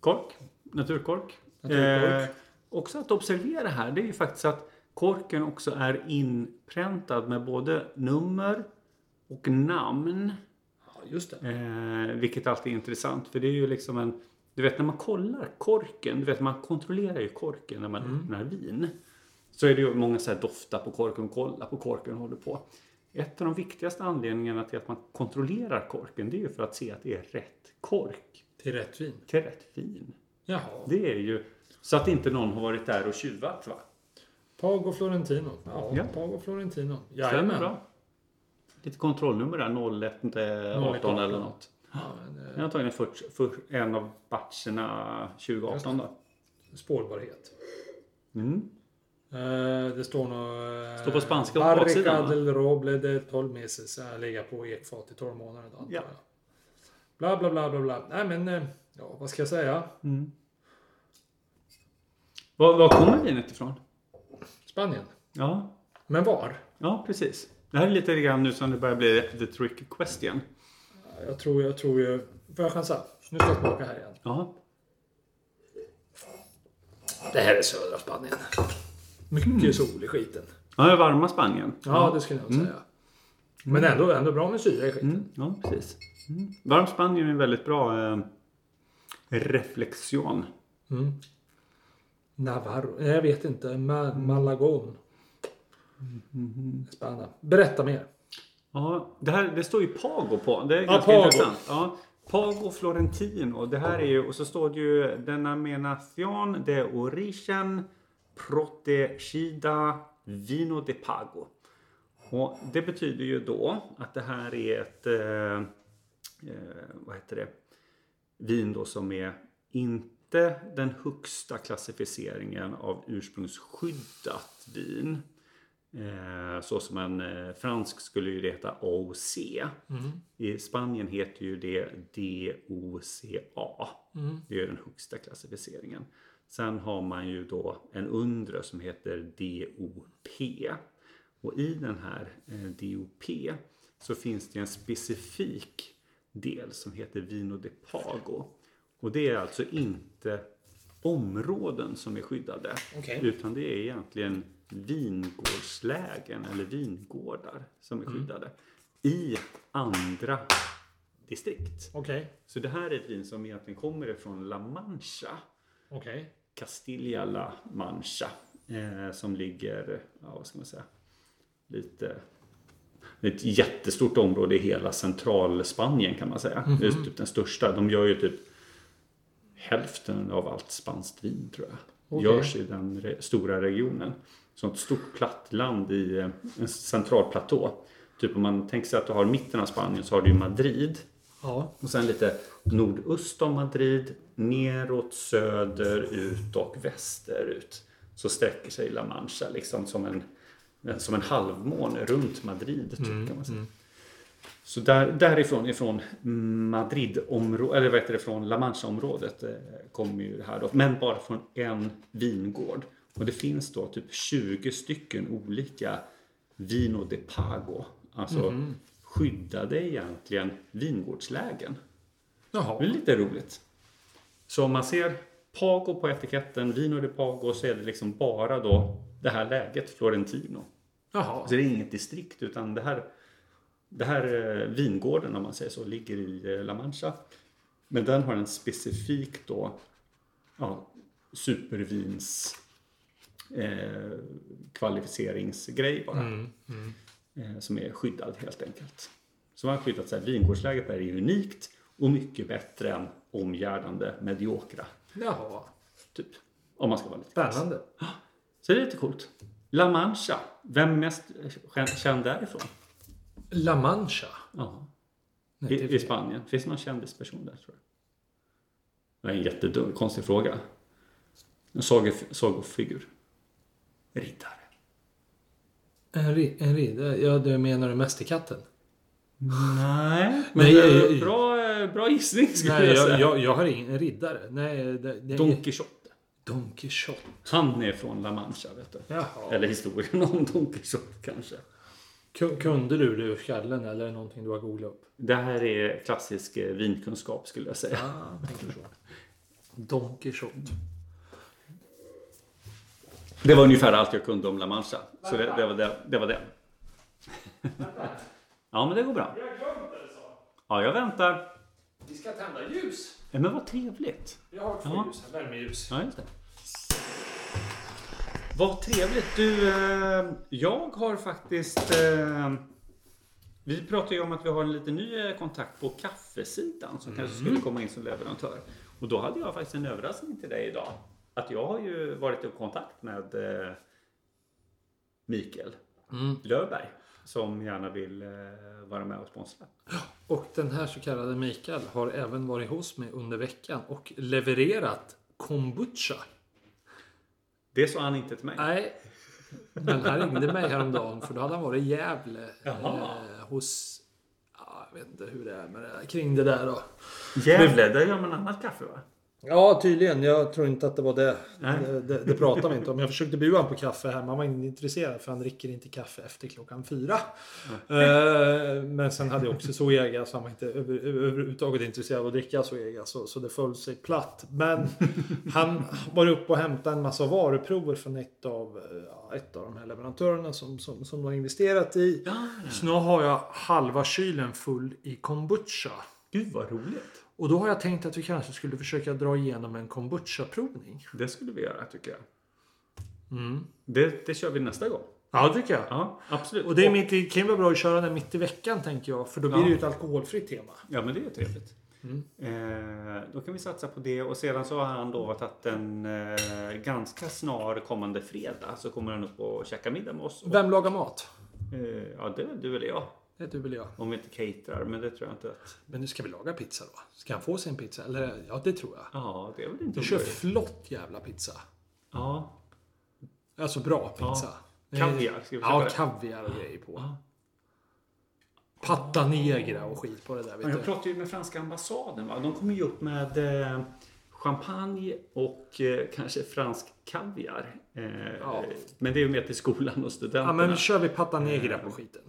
Speaker 1: Kork. Naturkork.
Speaker 2: Naturkork.
Speaker 1: Eh, också att observera här, det är ju faktiskt att korken också är inpräntad med både nummer och namn.
Speaker 2: Ja, just det.
Speaker 1: Eh, vilket alltid är intressant för det är ju liksom en... Du vet när man kollar korken, du vet man kontrollerar ju korken när man öppnar vin. Så är det ju många så här doftar på korken, kolla på korken och håller på. Ett av de viktigaste anledningarna till att man kontrollerar korken det är ju för att se att det är rätt kork
Speaker 2: Till rött vin.
Speaker 1: till rätt fin.
Speaker 2: Jaha.
Speaker 1: Det är ju så att inte någon har varit där och tjuvat va?
Speaker 2: Pago Florentino. Ja,
Speaker 1: Ja.
Speaker 2: Pago Florentino.
Speaker 1: Stämmer
Speaker 2: Jajamän.
Speaker 1: bra. Lite kontrollnummer där, 01 eh, 18 eller något.
Speaker 2: Ja, men, eh,
Speaker 1: Jag har tagit en, för, för en av batcherna 2018 då.
Speaker 2: eh, Spårbarhet.
Speaker 1: Mm.
Speaker 2: Eh, Det står nog... eh,
Speaker 1: Står på spanska på baksidan,
Speaker 2: Barrica
Speaker 1: va?
Speaker 2: del Roble de 12 meses. Jag har legat på ekfat i 12 månader. Antar
Speaker 1: Ja.
Speaker 2: jag. Bla, bla, bla, bla, bla. Nej, men... eh, Ja, vad ska jag säga?
Speaker 1: Var, var kommer vinet ifrån?
Speaker 2: Spanien.
Speaker 1: Ja,
Speaker 2: Men var?
Speaker 1: ja precis. Det här är lite grann nu som det börjar bli the trick question.
Speaker 2: Jag tror, jag tror ju... Får jag chansa? Nu ska jag smaka här igen.
Speaker 1: Ja.
Speaker 2: Det här är södra Spanien. Mycket sol i skiten.
Speaker 1: Mm. Ja, Mm. det är varma Spanien.
Speaker 2: Ja, det skulle jag nog säga.
Speaker 5: Men ändå, ändå bra med syre i skiten.
Speaker 1: Mm, ja, precis. Mm. Varm Spanien är en väldigt bra eh, reflektion.
Speaker 2: Mm. Navarro? Nej, jag vet inte. Ma-
Speaker 5: Mm.
Speaker 2: Malagon?
Speaker 5: Mm-hmm.
Speaker 2: Spanien. Berätta mer.
Speaker 1: Ja, det, här, det står ju Pago på. Det är
Speaker 5: Ja,
Speaker 1: ganska
Speaker 5: Pago.
Speaker 1: intressant. Ja, Pago Florentino. Det här är ju, och så står det ju Denaminación de Origen Protegida Vino de Pago. Och det betyder ju då att det här är ett, eh, eh, vad heter det, vin då som är inte den högsta klassificeringen av ursprungsskyddat vin. Eh, så som en eh, fransk skulle ju det heta AOC. I Spanien heter ju det DOCA. Det är ju den högsta klassificeringen. Sen har man ju då en undre som heter DOP. Och i den här eh, DOP så finns det en specifik del som heter Vino de Pago. Och det är alltså inte områden som är skyddade.
Speaker 5: Okej.
Speaker 1: Utan det är egentligen vingårdslägen eller vingårdar som är skyddade. I andra distrikt.
Speaker 5: Okej.
Speaker 1: Så det här är ett vin som egentligen kommer ifrån La Mancha.
Speaker 5: Okej.
Speaker 1: Castilla La Mancha. Eh, som ligger, ja vad ska man säga, lite... Det är ett jättestort område i hela centralspanien kan man säga. Det är typ den största. De gör ju typ hälften av allt spanskt vin tror jag. Görs i den re- stora regionen. Sånt stort platt land i eh, en central platå. Typ om man tänker sig att du har mitten av Spanien så har du ju Madrid.
Speaker 2: Ja.
Speaker 1: Och sen lite nordöst om Madrid, neråt, söderut och västerut. Så sträcker sig La Mancha liksom som en, som en halvmåne runt Madrid. Typ, kan man säga. Så där, därifrån, ifrån Madridområdet, eller vad heter det, från La Mancha-området eh, kommer ju det här då. Men bara från en vingård. Och det finns då typ 20 stycken olika Vino de Pago. Alltså skyddade egentligen vingårdslägen. Det är
Speaker 5: Jaha.
Speaker 1: lite roligt. Så om man ser Pago på etiketten, Vino de Pago, så är det liksom bara då det här läget, Florentino.
Speaker 5: Jaha.
Speaker 1: Så det är inget distrikt utan det här, det här eh, vingården om man säger så ligger i eh, La Mancha. Men den har en specifik då ja, supervins eh, kvalificeringsgrej bara. Eh, som är skyddad helt enkelt. Så man har skyddat så här, vingårdsläget där är unikt och mycket bättre än omgärdande mediokra.
Speaker 5: Jaha.
Speaker 1: Typ. Om man ska vara lite kass.
Speaker 5: Spännande.
Speaker 1: Så det är lite coolt. La Mancha. Vem är mest eh, kä- känd därifrån?
Speaker 5: La Mancha.
Speaker 1: Ja. I, I Spanien. Finns det någon kändisperson där tror du? Det är en jättedum, konstig fråga. En sagof- sagofigur. Riddare.
Speaker 2: En, ri- en riddare? Ja, du menar
Speaker 5: [laughs]
Speaker 2: du Mästerkatten?
Speaker 1: Nej. Men
Speaker 2: Nej,
Speaker 1: eh,
Speaker 2: eh,
Speaker 1: bra, eh, bra gissning skulle
Speaker 2: Nej,
Speaker 1: jag
Speaker 2: jag,
Speaker 1: säga.
Speaker 2: jag, jag har ingen riddare. Nej, det, det,
Speaker 1: Don Quijote.
Speaker 2: Don Quijote.
Speaker 1: Han är från La Mancha vet du.
Speaker 2: Jaha.
Speaker 1: Eller historien om Don Quijote kanske.
Speaker 2: Ku- Kunde du det ur skallen eller är det någonting du har googlat upp?
Speaker 1: Det här är klassisk eh, vinkunskap skulle jag säga.
Speaker 2: Ah, tänker så. Don Quijote.
Speaker 1: Det var ungefär allt jag kunde om La Mancha. Så det, det var det. det, var det. [laughs] ja, men det går bra. Ja, jag väntar.
Speaker 5: Vi ska tända ljus.
Speaker 1: Ja, Men vad trevligt.
Speaker 5: Jag har
Speaker 1: Ja.
Speaker 5: ljus här. Värmeljus.
Speaker 1: Ja, just det. Vad trevligt. Du, eh, jag har faktiskt... Eh, vi pratade ju om att vi har en lite ny eh, kontakt på kaffesidan som kanske skulle komma in som leverantör. Och då hade jag faktiskt en överraskning till dig idag. Att jag har ju varit i kontakt med eh, Mikael
Speaker 2: Mm.
Speaker 1: Löfberg som gärna vill eh, vara med och sponsra.
Speaker 2: Och den här så kallade Mikael har även varit hos mig under veckan och levererat kombucha.
Speaker 1: Det sa han inte till mig.
Speaker 2: Nej, men han ringde mig häromdagen för då hade han varit i Gävle
Speaker 1: Jaha.
Speaker 2: eh, hos... Ja, jag vet inte hur det är med det där, kring det där då.
Speaker 1: Gävle, där gör man annat kaffe va?
Speaker 5: Ja, tydligen. Jag tror inte att det var det.
Speaker 1: Nej.
Speaker 5: Det, det, det pratade vi inte om. Jag försökte bjuda honom på kaffe här, men han var inte intresserad för han dricker inte kaffe efter klockan fyra. Eh, men sen hade jag också Zoega, så han var inte över- över- överhuvudtaget intresserad av att dricka Zoega, så, så det föll sig platt. Men han var uppe och hämtade en massa varuprover från ett av, eh, ja, ett av de här leverantörerna som, som, som de har investerat i.
Speaker 2: Så nu har jag halva kylen full i kombucha.
Speaker 1: Gud vad roligt.
Speaker 2: Och då har jag tänkt att vi kanske skulle försöka dra igenom en kombucha-provning.
Speaker 1: Det skulle vi göra tycker jag.
Speaker 2: Mm.
Speaker 1: Det, det kör vi nästa gång.
Speaker 2: Ja, det tycker jag.
Speaker 1: Ja, absolut.
Speaker 2: Och det är mitt, i- kan ju vara bra att köra den mitt i veckan tänker jag. För då blir
Speaker 1: Ja.
Speaker 2: det ju ett alkoholfritt tema.
Speaker 1: Ja, men det är ju trevligt.
Speaker 2: Mm.
Speaker 1: Eh, då kan vi satsa på det och sedan så har han lovat att en eh, ganska snar kommande fredag så kommer han upp och käka middag med oss. Och,
Speaker 2: Vem lagar mat?
Speaker 1: eh, ja, det är väl du eller jag.
Speaker 2: Det är du eller jag.
Speaker 1: Om vi inte caterar, men det tror jag inte att...
Speaker 2: Men nu ska vi laga pizza då? Ska han få sin pizza? Eller ja, det tror jag.
Speaker 1: Ja, det är väl inte
Speaker 2: Vi kör
Speaker 1: omöjligt.
Speaker 2: flott jävla pizza.
Speaker 1: Ja,
Speaker 2: Alltså bra pizza.
Speaker 1: kaviar. Ska vi köpa
Speaker 2: Ja,
Speaker 1: det?
Speaker 2: kaviar och grejer på.
Speaker 1: Ja.
Speaker 2: Patta negra och skit på det där.
Speaker 1: Men
Speaker 2: Vet
Speaker 1: jag
Speaker 2: du.
Speaker 1: pratade ju med franska ambassaden. Va? De kommer ju upp med eh, champagne och eh, kanske fransk kaviar. Eh,
Speaker 2: Ja.
Speaker 1: Men det är ju mer till skolan och
Speaker 2: Ja,
Speaker 1: studenterna.
Speaker 2: men kör vi patta negra på skiten.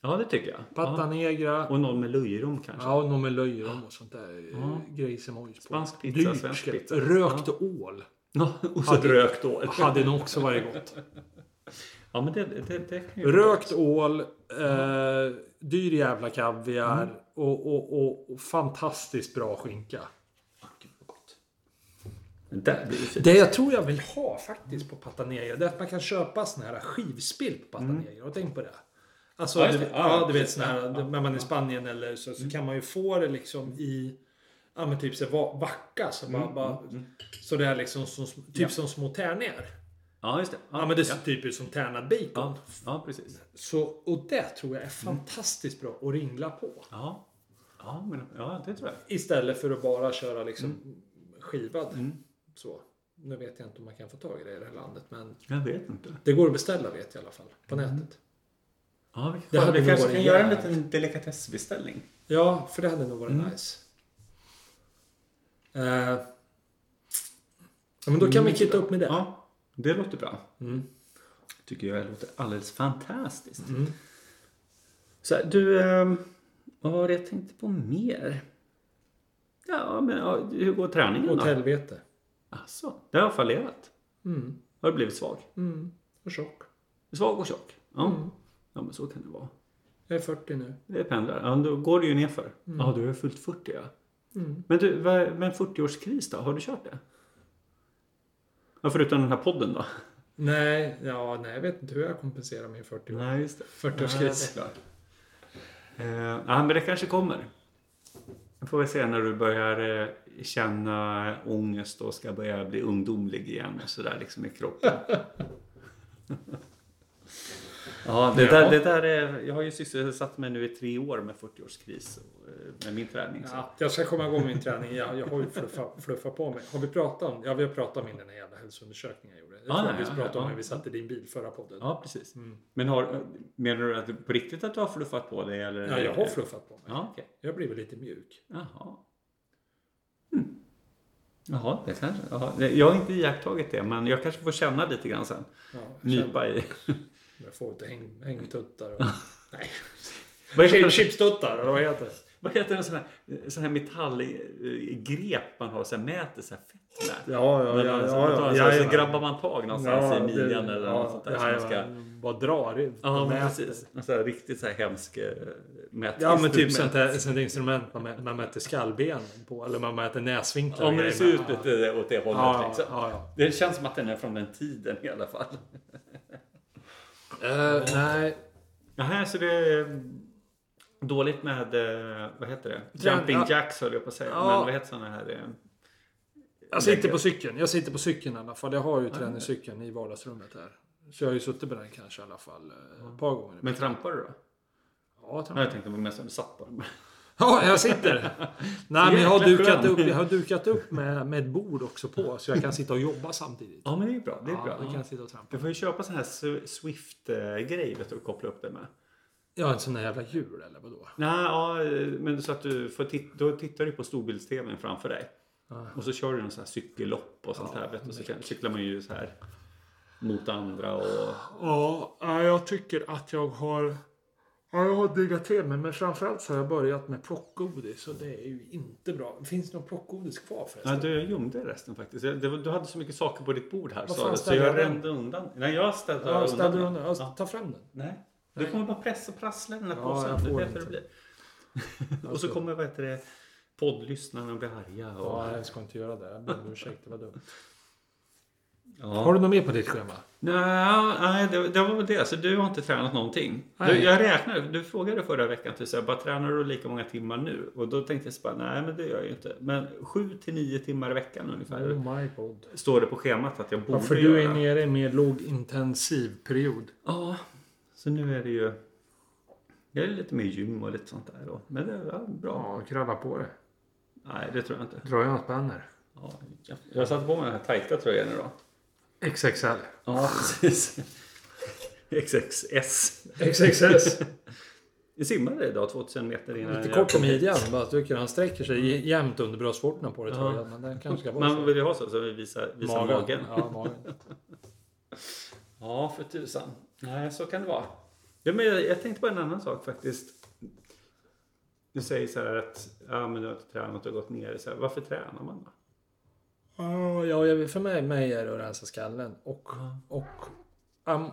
Speaker 1: Ja, det tycker jag.
Speaker 2: Patta
Speaker 1: Ja.
Speaker 2: negra.
Speaker 1: Och någon med löjrom kanske. Ah.
Speaker 2: Ja, och någon med löjrom och sånt där eh, ja. grejs och mojs på.
Speaker 1: Spansk pizza,
Speaker 2: Dyrt,
Speaker 1: svensk
Speaker 2: ska det-
Speaker 1: pizza.
Speaker 2: Rökt ål.
Speaker 1: Ja, [laughs] och så
Speaker 2: Hade-
Speaker 1: rökt ål.
Speaker 2: Hade nog också varit gott.
Speaker 1: Ja, men det, det, det kan ju
Speaker 2: Rökt ål, eh, dyr jävla kaviar
Speaker 1: Mm.
Speaker 2: och, och, och, och fantastiskt bra skinka.
Speaker 1: Där blir det fint.
Speaker 2: Det jag tror jag vill ha faktiskt på Patanegra, det är att man kan köpa såna här skivspilt på Patanegra. Har du tänkt på det? Alltså,
Speaker 1: Mm. Ja,
Speaker 2: ja,
Speaker 1: just
Speaker 2: du,
Speaker 1: det. Ja, Mm.
Speaker 2: ja, du vet
Speaker 1: precis.
Speaker 2: såna här, när man är i Spanien eller så, så kan man ju få det liksom i, ja men typ så här va- vacka. Så bara,
Speaker 1: Mm,
Speaker 2: bara, så det är liksom som, typ som små tärningar.
Speaker 1: Ja, just det.
Speaker 2: Ja men det ser
Speaker 1: ja.
Speaker 2: typ ut som tärnad bacon.
Speaker 1: Ja, Mm. ja, precis.
Speaker 2: Så, och det tror jag är fantastiskt bra att ringla på.
Speaker 1: Ja. Ja, men, ja, det tror jag.
Speaker 2: Istället för att bara köra liksom
Speaker 1: Mm.
Speaker 2: skivad. Så. Nu vet jag inte om man kan få tag i det i det här landet men
Speaker 1: Jag vet inte.
Speaker 2: det går att beställa vet jag i alla fall. På
Speaker 1: Mm.
Speaker 2: nätet.
Speaker 1: Ja, vi,
Speaker 2: Det hade
Speaker 1: vi kanske
Speaker 2: varit
Speaker 1: kan göra en
Speaker 2: jävligt.
Speaker 1: liten delikatessbeställning.
Speaker 2: Ja, för det hade nog varit
Speaker 1: Mm.
Speaker 2: nice. Eh, ja, men då kan vi kitta upp med det.
Speaker 1: Mm.
Speaker 2: Mm.
Speaker 1: Ja, det låter bra. Tycker jag låter alldeles fantastiskt. Så här, du, ehm, vad var det jag tänkte på mer? Ja, men ja, hur går träningen
Speaker 2: Åt
Speaker 1: då?
Speaker 2: helvete.
Speaker 1: Alltså, det har fallerat.
Speaker 2: Mm.
Speaker 1: Har du blivit svag?
Speaker 2: Mm. Och tjock.
Speaker 1: Svag och tjock? Ja. ja, men så kan det vara.
Speaker 2: Jag är 40 nu.
Speaker 1: Det pendlar. Ja, då går det ju nerför. Ja, du har ju fyllt 40 ja.
Speaker 2: Mm.
Speaker 1: Men du, vad- men 40-årskris då? Har du kört det? Ja, förutom den här podden då?
Speaker 2: Nej, ja, nej, jag vet inte hur jag kompenserar min 40 år.
Speaker 1: Nej, just det.
Speaker 2: 40-årskris.
Speaker 1: Ja, det är klart. Eh, ja, men det kanske kommer. Det får vi se när du börjar eh, känna ångest och ska börja bli ungdomlig igen och sådär liksom i kroppen. [laughs] ja, det där, det där är, jag har ju sysselsatt mig nu i tre år med 40-årskris och, eh, med min träning. Så.
Speaker 2: Ja, jag ska komma igång med min träning. Jag, jag har ju fluffa, fluffa på mig. Har vi pratat om, ja, vi har pratat om min den här jävla hälsoundersökningen jag gjorde. Jag
Speaker 1: Ja,
Speaker 2: tror
Speaker 1: Ah, nej,
Speaker 2: att vi
Speaker 1: ja,
Speaker 2: pratade om
Speaker 1: ja.
Speaker 2: när vi satt i din bil förra podden.
Speaker 1: Ja, precis.
Speaker 2: Mm.
Speaker 1: Men har, menar du att, du- på riktigt att du har fluffat på dig? Eller?
Speaker 2: Ja, jag har fluffat på mig.
Speaker 1: Ja, okej.
Speaker 2: Jag blir väl lite mjuk.
Speaker 1: Jaha. Mm. Jaha, det kanske. Jaha. det- Jag har inte iakttagit det, men jag kanske får känna lite grann sen.
Speaker 2: Ja, jag känner-
Speaker 1: Nypa
Speaker 2: [laughs]
Speaker 1: i.
Speaker 2: Jag får lite häng, hängtuttar [laughs] och... Nej.
Speaker 1: Vad
Speaker 2: Chip-
Speaker 1: heter,
Speaker 2: Chipstuttar, eller vad heter det?
Speaker 1: [laughs] vad heter en sån här, sån här metallgrep man har, så här mäter så här fett med?
Speaker 2: Ja,
Speaker 1: Men man- man tar en sån här, så grabbar man tag någonstans i midjan eller något sånt där. som man ska,
Speaker 2: Bara drar i.
Speaker 1: ja, men
Speaker 2: mäter.
Speaker 1: precis. En sån här riktigt så här hemsk eh, mätinstrument.
Speaker 2: Ja, men typ sånt där sånt där instrument man, mä- man mäter skallben på. Eller man mäter näsvinklar.
Speaker 1: Ja,
Speaker 2: och
Speaker 1: men det
Speaker 2: grejer
Speaker 1: ser
Speaker 2: med.
Speaker 1: ut lite åt det hållet.
Speaker 2: Ja,
Speaker 1: liksom.
Speaker 2: ja, ja.
Speaker 1: Det känns som att den är från den tiden i alla fall.
Speaker 2: Eh, nej,
Speaker 1: Jaha, så det är mm, dåligt med, eh, vad heter det?
Speaker 2: Trän-
Speaker 1: Jumping
Speaker 2: ja.
Speaker 1: jacks höll jag på att säga.
Speaker 2: Ja.
Speaker 1: Men vad heter sådana här? eh,
Speaker 2: jag sitter på cykeln. Jag sitter på cykeln i alla fall. Jag har ju träningscykeln i vardagsrummet här. Så jag har ju suttit på den kanske i alla fall eh, ett par gånger.
Speaker 1: Men trampar du då?
Speaker 2: Ja,
Speaker 1: Ja,
Speaker 2: trampar.
Speaker 1: jag tänkte på mest om du satt på dem.
Speaker 2: Ja, jag sitter. Nej, men jag har
Speaker 1: Jäkla
Speaker 2: dukat
Speaker 1: skön.
Speaker 2: upp, jag har dukat upp med, med ett bord också på så jag kan sitta och jobba samtidigt.
Speaker 1: Ja, men det är ju bra. Det är bra.
Speaker 2: Ja, då kan jag sitta och trampa.
Speaker 1: Du får ju köpa sån här Sw- Swift-grej vet du, och koppla upp det med.
Speaker 2: Jag har en sån där jävla hjul eller vadå?
Speaker 1: Nej, ja, eh, men så att du får tit- då tittar du på storbilds-tvn framför dig. Och så kör du någon sån här cykellopp och sånt här. Vet du, så kan, cyklar man ju så här mot andra och...
Speaker 6: Ja, ja, jag tycker att jag har... Ja, jag har diggat till mig, men framförallt så har jag börjat med plockgodis och det är ju inte bra. Finns det någon plockgodis kvar
Speaker 1: Ja,
Speaker 6: förresten?
Speaker 1: du, jag gömde resten faktiskt. Jag- det var- Du hade så mycket saker på ditt bord här.
Speaker 2: Vad
Speaker 1: sa
Speaker 2: fan
Speaker 1: du, så
Speaker 2: ställde
Speaker 1: jag
Speaker 2: jag den?
Speaker 1: rände undan. Nej, jag ställde
Speaker 2: Ja, ställ
Speaker 1: den.
Speaker 2: den under. Ja,
Speaker 1: Ja.
Speaker 2: Ta fram den.
Speaker 1: Nej. Du kommer bara pressa och prassla den här
Speaker 2: Ja,
Speaker 1: påsen.
Speaker 2: jag
Speaker 1: Det är
Speaker 2: får
Speaker 1: därför det
Speaker 2: inte.
Speaker 1: blir. och så kommer vad heter det, poddlyssnarna och blir arga. Och...
Speaker 2: Ja, jag ska inte göra det. Jag ber om ursäkt. Det var dumt.
Speaker 1: Ja.
Speaker 2: Har du något mer på ditt schema?
Speaker 1: Nej, nej det, det var väl det. Så du har inte tränat någonting. Du,
Speaker 2: Nej.
Speaker 1: jag räknade, du frågade förra veckan, typ, så här, bara tränar du lika många timmar nu? Och då tänkte jag så bara, nej men det gör jag ju inte. Men 7 till 9 timmar i veckan ungefär.
Speaker 2: Oh my god.
Speaker 1: Står det på schemat att jag borde
Speaker 2: Varför
Speaker 1: göra.
Speaker 2: du är nere i en mer lågintensiv period.
Speaker 1: Ja, så nu är det ju... Jag är lite mer gym och lite sånt där då. Men det är ja, bra.
Speaker 6: Ja, kravla på det.
Speaker 1: Nej, det tror jag inte.
Speaker 6: Dra jag något banner?
Speaker 1: Ja, jag- jag satte på mig den här tajta tröjan idag.
Speaker 6: XXL.
Speaker 1: Ja, [laughs] precis. XXS.
Speaker 2: XXS.
Speaker 1: Jag simmade idag 2000 meter innan
Speaker 2: Lite
Speaker 1: jag
Speaker 2: kort
Speaker 1: kom
Speaker 2: om
Speaker 1: hit.
Speaker 2: midjan. Bara tycker han sträcker sig jämnt under bröstvårtorna på det tror
Speaker 1: Ja.
Speaker 2: jag. Men den kanske ska vara
Speaker 1: Man
Speaker 2: så.
Speaker 1: vill ju ha så, så vi visar, visar magen.
Speaker 2: Ja, magen.
Speaker 1: Ja, för tusan. Nej, så kan det vara. Ja, men jag, jag tänkte på en annan sak faktiskt. Du säger så här att ja, men du har inte tränat och gått ner. Så här, varför tränar man då?
Speaker 2: Ja, ja, jag- för mig, mig är det att rensa skallen. Och... och um,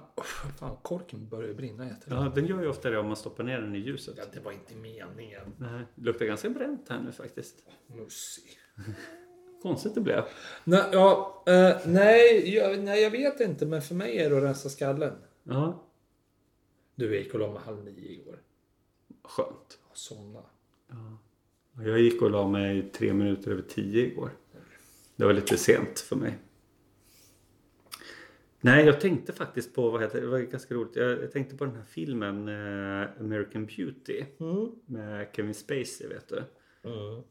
Speaker 2: fan, korken börjar brinna jättelätt.
Speaker 1: Ja, den gör ju ofta det om man stoppar ner den i ljuset.
Speaker 2: Ja, det var inte meningen.
Speaker 1: Nej, det luktar ganska bränt här nu faktiskt.
Speaker 2: Mussig.
Speaker 1: Konstigt det blev.
Speaker 2: Nej, ja, eh, nej, jag, nej, jag vet inte. Men för mig är det att rensa skallen.
Speaker 1: Ja,
Speaker 2: Du, jag gick och la mig halv nio igår.
Speaker 1: skönt.
Speaker 2: Jag somnade.
Speaker 1: Jag gick och la mig tre minuter över tio igår. Det var lite sent för mig. Nej, jag tänkte faktiskt på, vad heter det, det var ganska roligt, jag jag tänkte på den här filmen eh, American Beauty med Kevin Spacey vet du.
Speaker 2: Mm.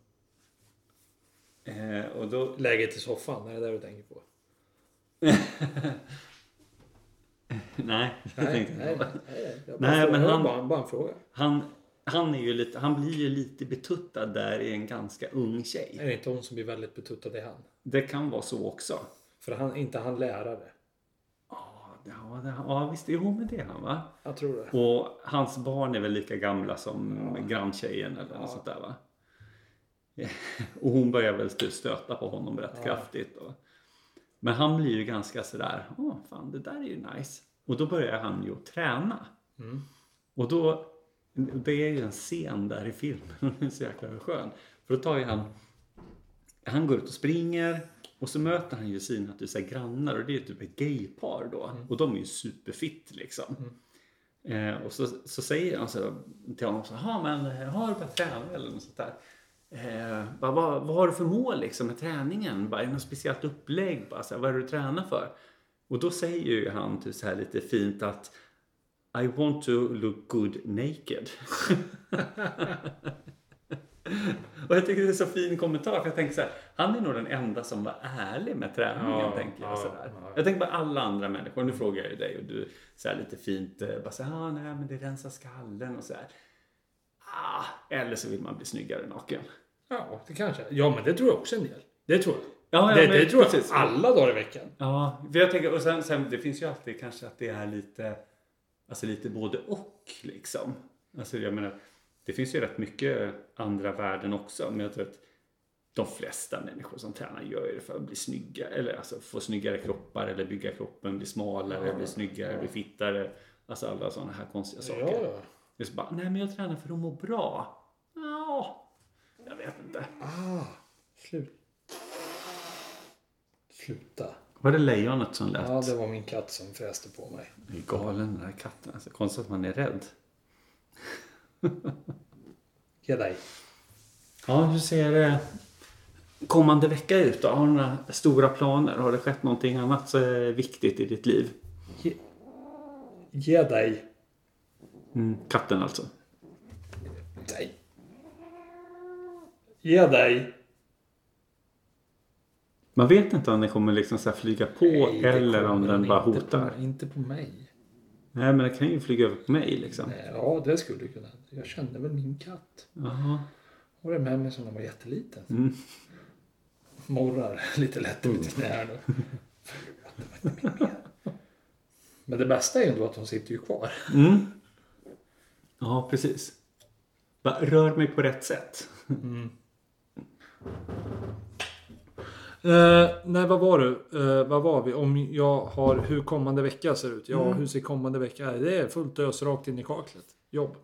Speaker 1: Eh, och då, [laughs]
Speaker 2: Läget i soffan, är det det du tänker på?
Speaker 1: nej, jag tänkte inte
Speaker 2: nej,
Speaker 1: på det.
Speaker 2: nej, nej. Jag
Speaker 1: Nej,
Speaker 2: bara,
Speaker 1: men
Speaker 2: men
Speaker 1: han-
Speaker 2: han... bara, bara en fråga.
Speaker 1: han, han, är ju lite, han blir ju lite betuttad där i en ganska ung
Speaker 2: Är
Speaker 1: tjej.
Speaker 2: det inte hon som blir väldigt betuttad i han?
Speaker 1: Det kan vara så också.
Speaker 2: För han, inte han lärare.
Speaker 1: Ja, det- ja, det- ja visst, jo men det är han va?
Speaker 2: Jag tror det.
Speaker 1: Och hans barn är väl lika gamla som granntjejen eller något sånt där va? [laughs] Och hon börjar väl typ stöta på honom rätt kraftigt. Och... Men han blir ju ganska sådär, åh fan det där är ju nice. Och då börjar han ju att träna. Och då, det är ju en scen där i filmen, [laughs] och den är så jäkla skön. För då tar ju han, han går ut och springer och så möter han ju sina typ, så här, grannar och det är ju typ ett gaypar då. Och de är ju superfitt liksom. Eh, och så, så säger han så till honom så här, "Ha, men eh, har du börjat träna eller något sånt där? Eh, bara, vad, vad har du för mål liksom med träningen? Bara, är det något speciellt upplägg? Bara, så här, vad är det du tränar för? Och då säger ju han typ så här lite fint att I want to look good naked. [laughs] och jag tycker det är så fin kommentar för jag tänker så här, han är nog den enda som var ärlig med träningen
Speaker 6: Ja,
Speaker 1: tänker jag.
Speaker 6: ja,
Speaker 1: så där.
Speaker 6: ja.
Speaker 1: Jag tänker på alla andra människor. Nu frågar jag ju dig och du så här lite fint eh, bara så här, ah, nej men det rensar skallen och så här. Ah, eller så vill man bli snyggare naken.
Speaker 2: Ja, det kanske. Ja, men det tror jag också en del. Det tror jag.
Speaker 1: Ja, ja,
Speaker 2: det,
Speaker 1: men
Speaker 2: det tror jag
Speaker 1: precis.
Speaker 2: alla dagar i veckan.
Speaker 1: Ja, för jag tänker och sen, sen det finns ju alltid kanske att det är lite alltså lite både och liksom. Alltså jag menar det finns ju rätt mycket andra värden också, men jag tror att de flesta människor som tränar gör ju det för att bli snygga eller alltså få snyggare kroppar eller bygga kroppen, bli smalare, bli snyggare, bli fittare. Alltså alla sådana här konstiga saker.
Speaker 2: Ja, ja.
Speaker 1: Det är så bara, nej men jag tränar för att må bra. Ja, jag vet inte.
Speaker 2: Ah, slut. Sluta.
Speaker 1: Var det lejonet som lät?
Speaker 2: Ja, det var min katt som fräste på mig.
Speaker 1: Det är galen den här katten. Alltså, konstigt att man är rädd.
Speaker 2: Ge dig.
Speaker 1: Ja, hur ser eh, kommande vecka ut då? Har du några stora planer? Har det skett någonting annat som är viktigt i ditt liv?
Speaker 2: Ge, ge dig.
Speaker 1: Mm, katten alltså.
Speaker 2: Nej. Ge dig.
Speaker 1: Man vet inte om den kommer liksom så här flyga på
Speaker 2: Nej, det
Speaker 1: eller om
Speaker 2: kommer
Speaker 1: den bara
Speaker 2: inte på-
Speaker 1: hotar.
Speaker 2: Inte på mig.
Speaker 1: Nej, men den kan ju flyga över på mig liksom.
Speaker 2: Nej, Ja, det skulle kunna. Jag kände väl min katt.
Speaker 1: Jaha.
Speaker 2: Hon var med mig som när jag var jätteliten.
Speaker 1: Mm.
Speaker 7: morrar [laughs] lite lätt i mitt knä här nu. [laughs] Men det bästa är ju ändå att de sitter ju kvar.
Speaker 1: Mm. Ja, precis. Va, rör mig på rätt sätt.
Speaker 2: Eh, nej, vad var du? Eh, vad var vi? Om jag har hur kommande vecka ser ut? Ja, hur ser kommande vecka ut? Det är fullt ös rakt in i kaklet. Jobb.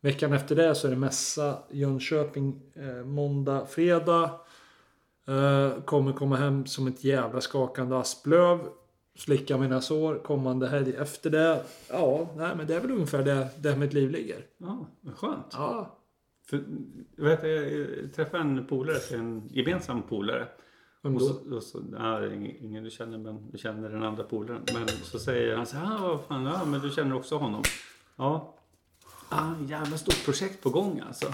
Speaker 2: Veckan efter det så är det mässa Jönköping eh, måndag, fredag. Eh, kommer komma hem som ett jävla skakande asplöv. Slicka mina sår kommande helg efter det. Ja, nej men det är väl ungefär det, där mitt liv ligger.
Speaker 1: Ja, vad skönt.
Speaker 2: Ja,
Speaker 1: För, jag, vet, jag träffade en polare, en gemensam polare.
Speaker 2: Vem
Speaker 1: Och
Speaker 2: då?
Speaker 1: så, och så, nej, ing- ingen du känner, men du känner den andra polaren. Men så säger han så här, ah, vad fan, ja, men du känner också honom. Ja. Ah, jävla stort projekt på gång alltså.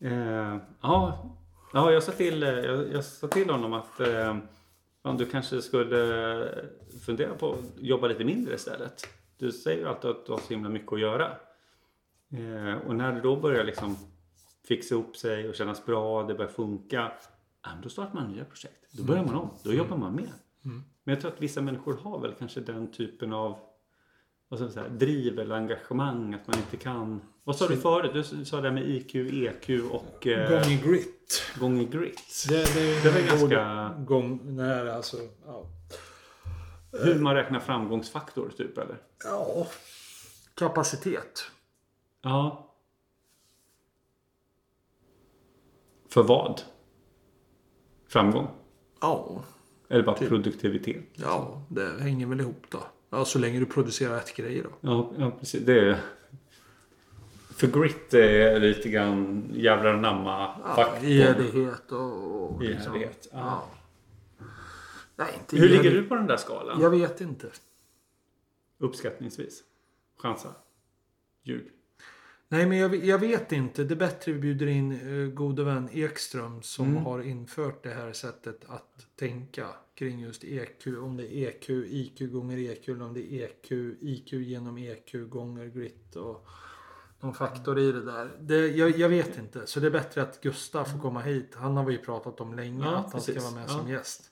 Speaker 1: Eh, ja, ja jag, sa till, eh, jag, jag sa till honom att eh, fan, du kanske skulle eh, fundera på att jobba lite mindre istället. Du säger ju alltid att du har så himla mycket att göra. Eh, och när det då börjar liksom fixa ihop sig och kännas bra, det börjar funka. ja, men Då startar man nya projekt. Då börjar man om. Då jobbar man mer. Men jag tror att vissa människor har väl kanske den typen av vad ska man säga, driv eller engagemang. Att man inte kan... Vad sa du förut? Du sa det här med IQ, EQ och eh,
Speaker 7: Gång i grit.
Speaker 1: gång i grit.
Speaker 7: Det, det är ju
Speaker 1: Det var ganska...
Speaker 7: gång när alltså... Ja.
Speaker 1: Hur man räknar framgångsfaktor typ eller?
Speaker 7: ja.
Speaker 2: kapacitet.
Speaker 1: Ja. För vad? Framgång?
Speaker 2: Ja,
Speaker 1: Eller
Speaker 2: Typ.
Speaker 1: bara produktivitet?
Speaker 2: ja, det hänger väl ihop då. Ja, så länge du producerar rätt grejer då.
Speaker 1: Ja, ja precis. Det är... För grit är lite grann jävlar anamma
Speaker 2: Ja, ihärdighet och... och liksom-
Speaker 1: Ihärdighet, ja.
Speaker 2: Nej, inte
Speaker 1: Hur ligger
Speaker 2: ihärdig-
Speaker 1: du på den där skalan?
Speaker 2: Jag vet inte.
Speaker 1: Uppskattningsvis. Chansa. Ljug.
Speaker 2: Nej, men jag, jag vet inte. Det är bättre vi bjuder in eh, gode vän Ekström som har infört det här sättet att tänka kring just EQ. Om det är E EQ, IQ gånger EQ eller om det är E EQ, IQ genom EQ gånger grit och någon faktor i det där. Det, jag, jag vet inte. Så det är bättre att Gustav får komma hit. Han har vi ju pratat om länge
Speaker 1: Ja,
Speaker 2: att han ska
Speaker 1: precis.
Speaker 2: vara med
Speaker 1: Ja.
Speaker 2: som gäst.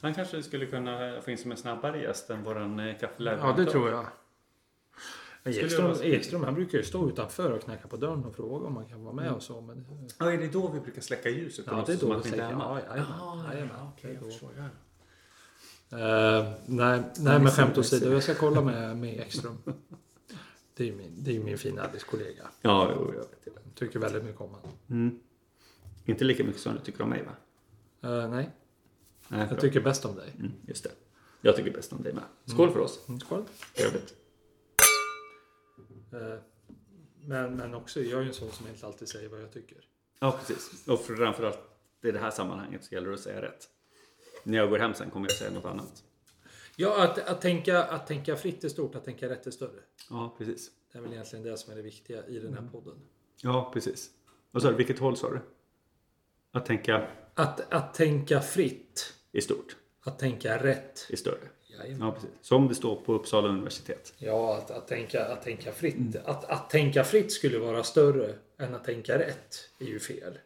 Speaker 1: Han kanske skulle kunna få in som en snabbare gäst än våran eh, kaffelärare.
Speaker 2: Ja, det tror jag.
Speaker 1: Ekström-
Speaker 2: Ekström, Ekström han brukar ju stå utanför och knacka på dörren och fråga om man kan vara med och så. Men
Speaker 1: Ja, är det då vi brukar släcka ljuset?
Speaker 2: Ja, det är
Speaker 1: som
Speaker 2: då
Speaker 1: att inte
Speaker 2: vi
Speaker 1: är
Speaker 2: släcker.
Speaker 1: hemma? Ah,
Speaker 2: Ja, jajamän. Jajamän.
Speaker 1: okej, jag förstår. Ja, ja.
Speaker 2: Eh, nej, nej men skämt åsido, jag ska kolla [laughs] med, med Ekström. Det är ju min, det är ju min fina arbetskollega.
Speaker 1: Ja, jo, jag vet.
Speaker 2: Tycker väldigt mycket om honom.
Speaker 1: Inte lika mycket som du tycker om mig, va?
Speaker 2: Eh, nej,
Speaker 1: Nej,
Speaker 2: jag
Speaker 1: bra.
Speaker 2: tycker bäst om dig.
Speaker 1: Mm, just det. Jag tycker bäst om dig med. Skål för oss.
Speaker 2: Mm, Skål.
Speaker 1: Trevligt.
Speaker 2: Eh, men, men också, jag är ju en sån som inte alltid säger vad jag tycker.
Speaker 1: Ja, precis. Och framförallt i det här sammanhanget så gäller det att säga rätt. När jag går hem sen kommer jag säga något annat.
Speaker 2: Ja, att, att, tänka, att tänka fritt är stort, att tänka rätt är större.
Speaker 1: Ja, precis.
Speaker 2: Det är väl egentligen det som är det viktiga i den här podden.
Speaker 1: Ja, precis. Vad sa du? Vilket håll sa du? Att tänka
Speaker 2: Att, att tänka fritt,
Speaker 1: i stort,
Speaker 2: att tänka rätt.
Speaker 1: i större.
Speaker 2: Jajamän.
Speaker 1: Ja, precis. Som det står på Uppsala universitet.
Speaker 7: Ja, att, att, tänka, att tänka fritt.
Speaker 2: Att, att tänka fritt skulle vara större än att tänka rätt är ju fel.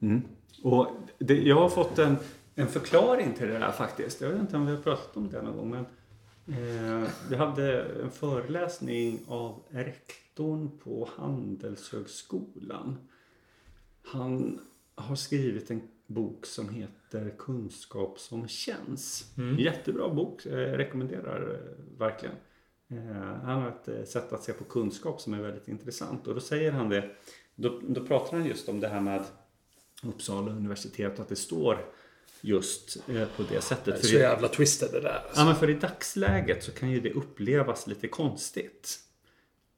Speaker 1: Mm. Och det, jag har fått en, en förklaring till det där faktiskt. Jag vet inte om vi har pratat om det någon gång. Men, eh, vi hade en föreläsning av rektorn på Handelshögskolan. Han har skrivit en bok som heter Kunskap som känns. Jättebra bok, eh, rekommenderar eh, verkligen. Eh, han har ett eh, sätt att se på kunskap som är väldigt intressant och då säger han det. Då, då pratar han just om det här med Uppsala universitet att det står just eh, på det sättet. För
Speaker 7: Så
Speaker 1: det-
Speaker 7: jävla twisted det där.
Speaker 2: alltså.
Speaker 1: Ja, men för i dagsläget så kan ju det upplevas lite konstigt.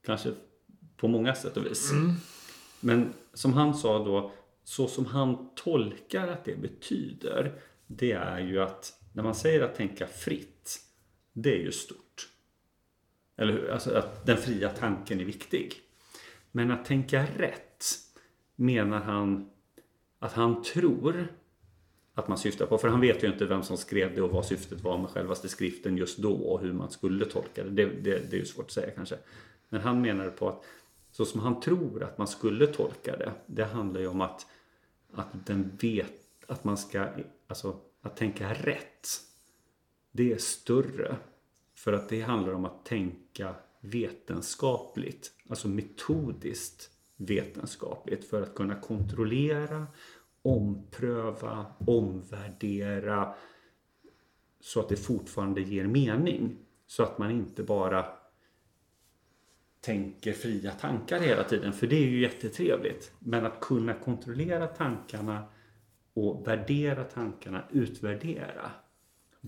Speaker 1: Kanske på många sätt och vis. Men som han sa då, så som han tolkar att det betyder, det är ju att när man säger att tänka fritt, det är ju stort. Eller hur? Alltså att den fria tanken är viktig. Men att tänka rätt menar han att han tror att man syftar på. För han vet ju inte vem som skrev det och vad syftet var med självaste skriften just då och hur man skulle tolka det. Det, det, det är ju svårt att säga kanske. Men han menar på att så som han tror att man skulle tolka det, det handlar ju om att, att, den vet, att man ska alltså att tänka rätt, det är större. För att det handlar om att tänka vetenskapligt, alltså metodiskt vetenskapligt för att kunna kontrollera, ompröva, omvärdera så att det fortfarande ger mening. Så att man inte bara tänker fria tankar hela tiden, för det är ju jättetrevligt. Men att kunna kontrollera tankarna och värdera tankarna, utvärdera,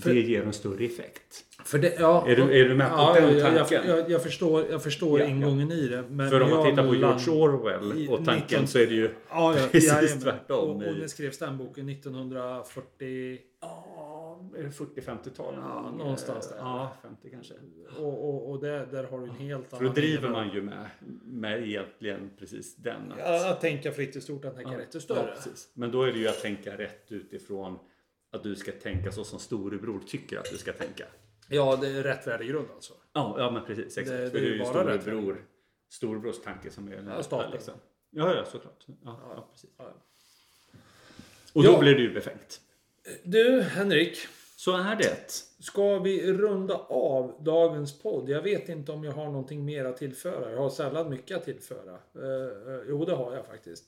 Speaker 2: För-
Speaker 1: det ger en större effekt.
Speaker 2: För det, ja,
Speaker 1: Är du, är du med på
Speaker 2: ja,
Speaker 1: den
Speaker 2: jag,
Speaker 1: tanken?
Speaker 2: jag, jag, jag förstår, jag förstår
Speaker 1: Ja, ja.
Speaker 2: ingången i det. Men
Speaker 1: För om man
Speaker 2: jag
Speaker 1: tittar på
Speaker 2: land-
Speaker 1: George Orwell och tanken
Speaker 2: 19
Speaker 1: så är det ju...
Speaker 2: Ja, ja,
Speaker 1: [laughs] Precis
Speaker 2: jajamän.
Speaker 1: tvärtom
Speaker 2: Och, och
Speaker 1: i-
Speaker 2: när skrevs den boken? 1940?
Speaker 1: Ja, 40-50-tal.
Speaker 2: Ja, någonstans där.
Speaker 1: Ja, 50 kanske.
Speaker 2: Och, och, och där, där har du en helt
Speaker 1: För då driver man ju med, med egentligen precis den. att-
Speaker 2: Ja, att tänka fritt i stort, att tänka rätt är större.
Speaker 1: Ja, precis. Men då är det ju att tänka rätt utifrån att du ska tänka så som storebror tycker att du ska tänka.
Speaker 2: Ja, det är rätt värdegrund alltså.
Speaker 1: Ja, ja men precis. Exakt.
Speaker 2: Det- det
Speaker 1: För
Speaker 2: är
Speaker 1: det är
Speaker 2: ju
Speaker 1: ju
Speaker 2: bara
Speaker 1: storebror, storebrors tanke som är den rätta, liksom.
Speaker 2: staten.
Speaker 1: Ja, ja, såklart. Ja, ja, precis.
Speaker 2: Ja.
Speaker 1: Och då
Speaker 2: Ja.
Speaker 1: blir det ju befängt.
Speaker 2: Du, Henrik.
Speaker 1: Så är det.
Speaker 2: Ska vi runda av dagens podd? Jag vet inte om jag har någonting mer att tillföra. Jag har sällan mycket att tillföra. Eh, eh, jo, det har jag faktiskt.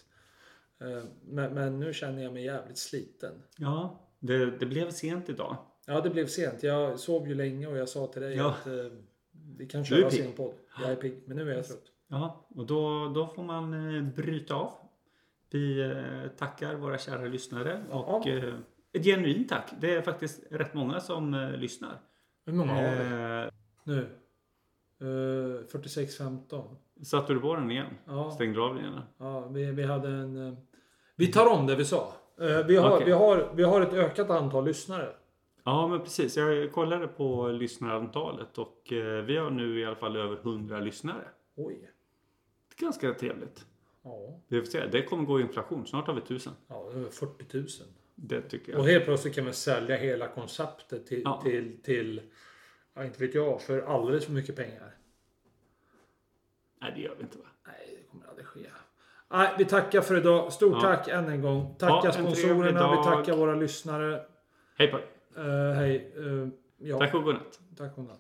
Speaker 2: Eh, men, men nu känner jag mig jävligt sliten.
Speaker 1: Ja, det, det blev sent idag.
Speaker 2: Ja, det blev sent. Jag sov ju länge och jag sa till dig
Speaker 1: Ja.
Speaker 2: att eh, vi kan
Speaker 1: Du är
Speaker 2: köra
Speaker 1: pigg.
Speaker 2: sin podd. Jag är pigg, men nu är jag trött.
Speaker 1: Ja, och då, då får man eh, bryta av. Vi eh, tackar våra kära lyssnare och eh, ett genuint tack. Det är faktiskt rätt många som eh, lyssnar.
Speaker 2: Hur många har vi?
Speaker 1: Eh,
Speaker 2: Nu? Eh, 46-15.
Speaker 1: satte du på den igen?
Speaker 2: Ja.
Speaker 1: Stängde du av den igen?
Speaker 2: Ja, vi, vi hade en... eh, Vi tar om det vi sa. Eh, Vi har,
Speaker 1: Okej.
Speaker 2: vi, har, vi har ett ökat antal lyssnare.
Speaker 1: Ja, men precis. Jag kollade på lyssnarantalet och eh, vi har nu i alla fall över 100 lyssnare.
Speaker 2: Oj.
Speaker 1: Det är ganska trevligt.
Speaker 2: Ja,
Speaker 1: Det, vill säga, det kommer gå i inflation. Snart har vi 1000.
Speaker 2: ja det var 40 000.
Speaker 1: Det tycker
Speaker 2: Och
Speaker 1: jag.
Speaker 2: helt plötsligt kan man sälja hela konceptet till,
Speaker 1: Ja.
Speaker 2: till, till ja, inte vet jag, för alldeles för mycket pengar.
Speaker 1: Nej, det gör vi inte va?
Speaker 2: Nej, det kommer aldrig ske. Nej, vi tackar för idag. Stort
Speaker 1: Ja.
Speaker 2: tack än en gång.
Speaker 1: Ha
Speaker 2: Tackar
Speaker 1: en trevlig
Speaker 2: sponsorerna,
Speaker 1: dag.
Speaker 2: vi tackar våra lyssnare.
Speaker 1: Hej på dig.
Speaker 2: Eh, hej. Eh, ja,
Speaker 1: Tack och godnatt.
Speaker 2: tack och godnatt.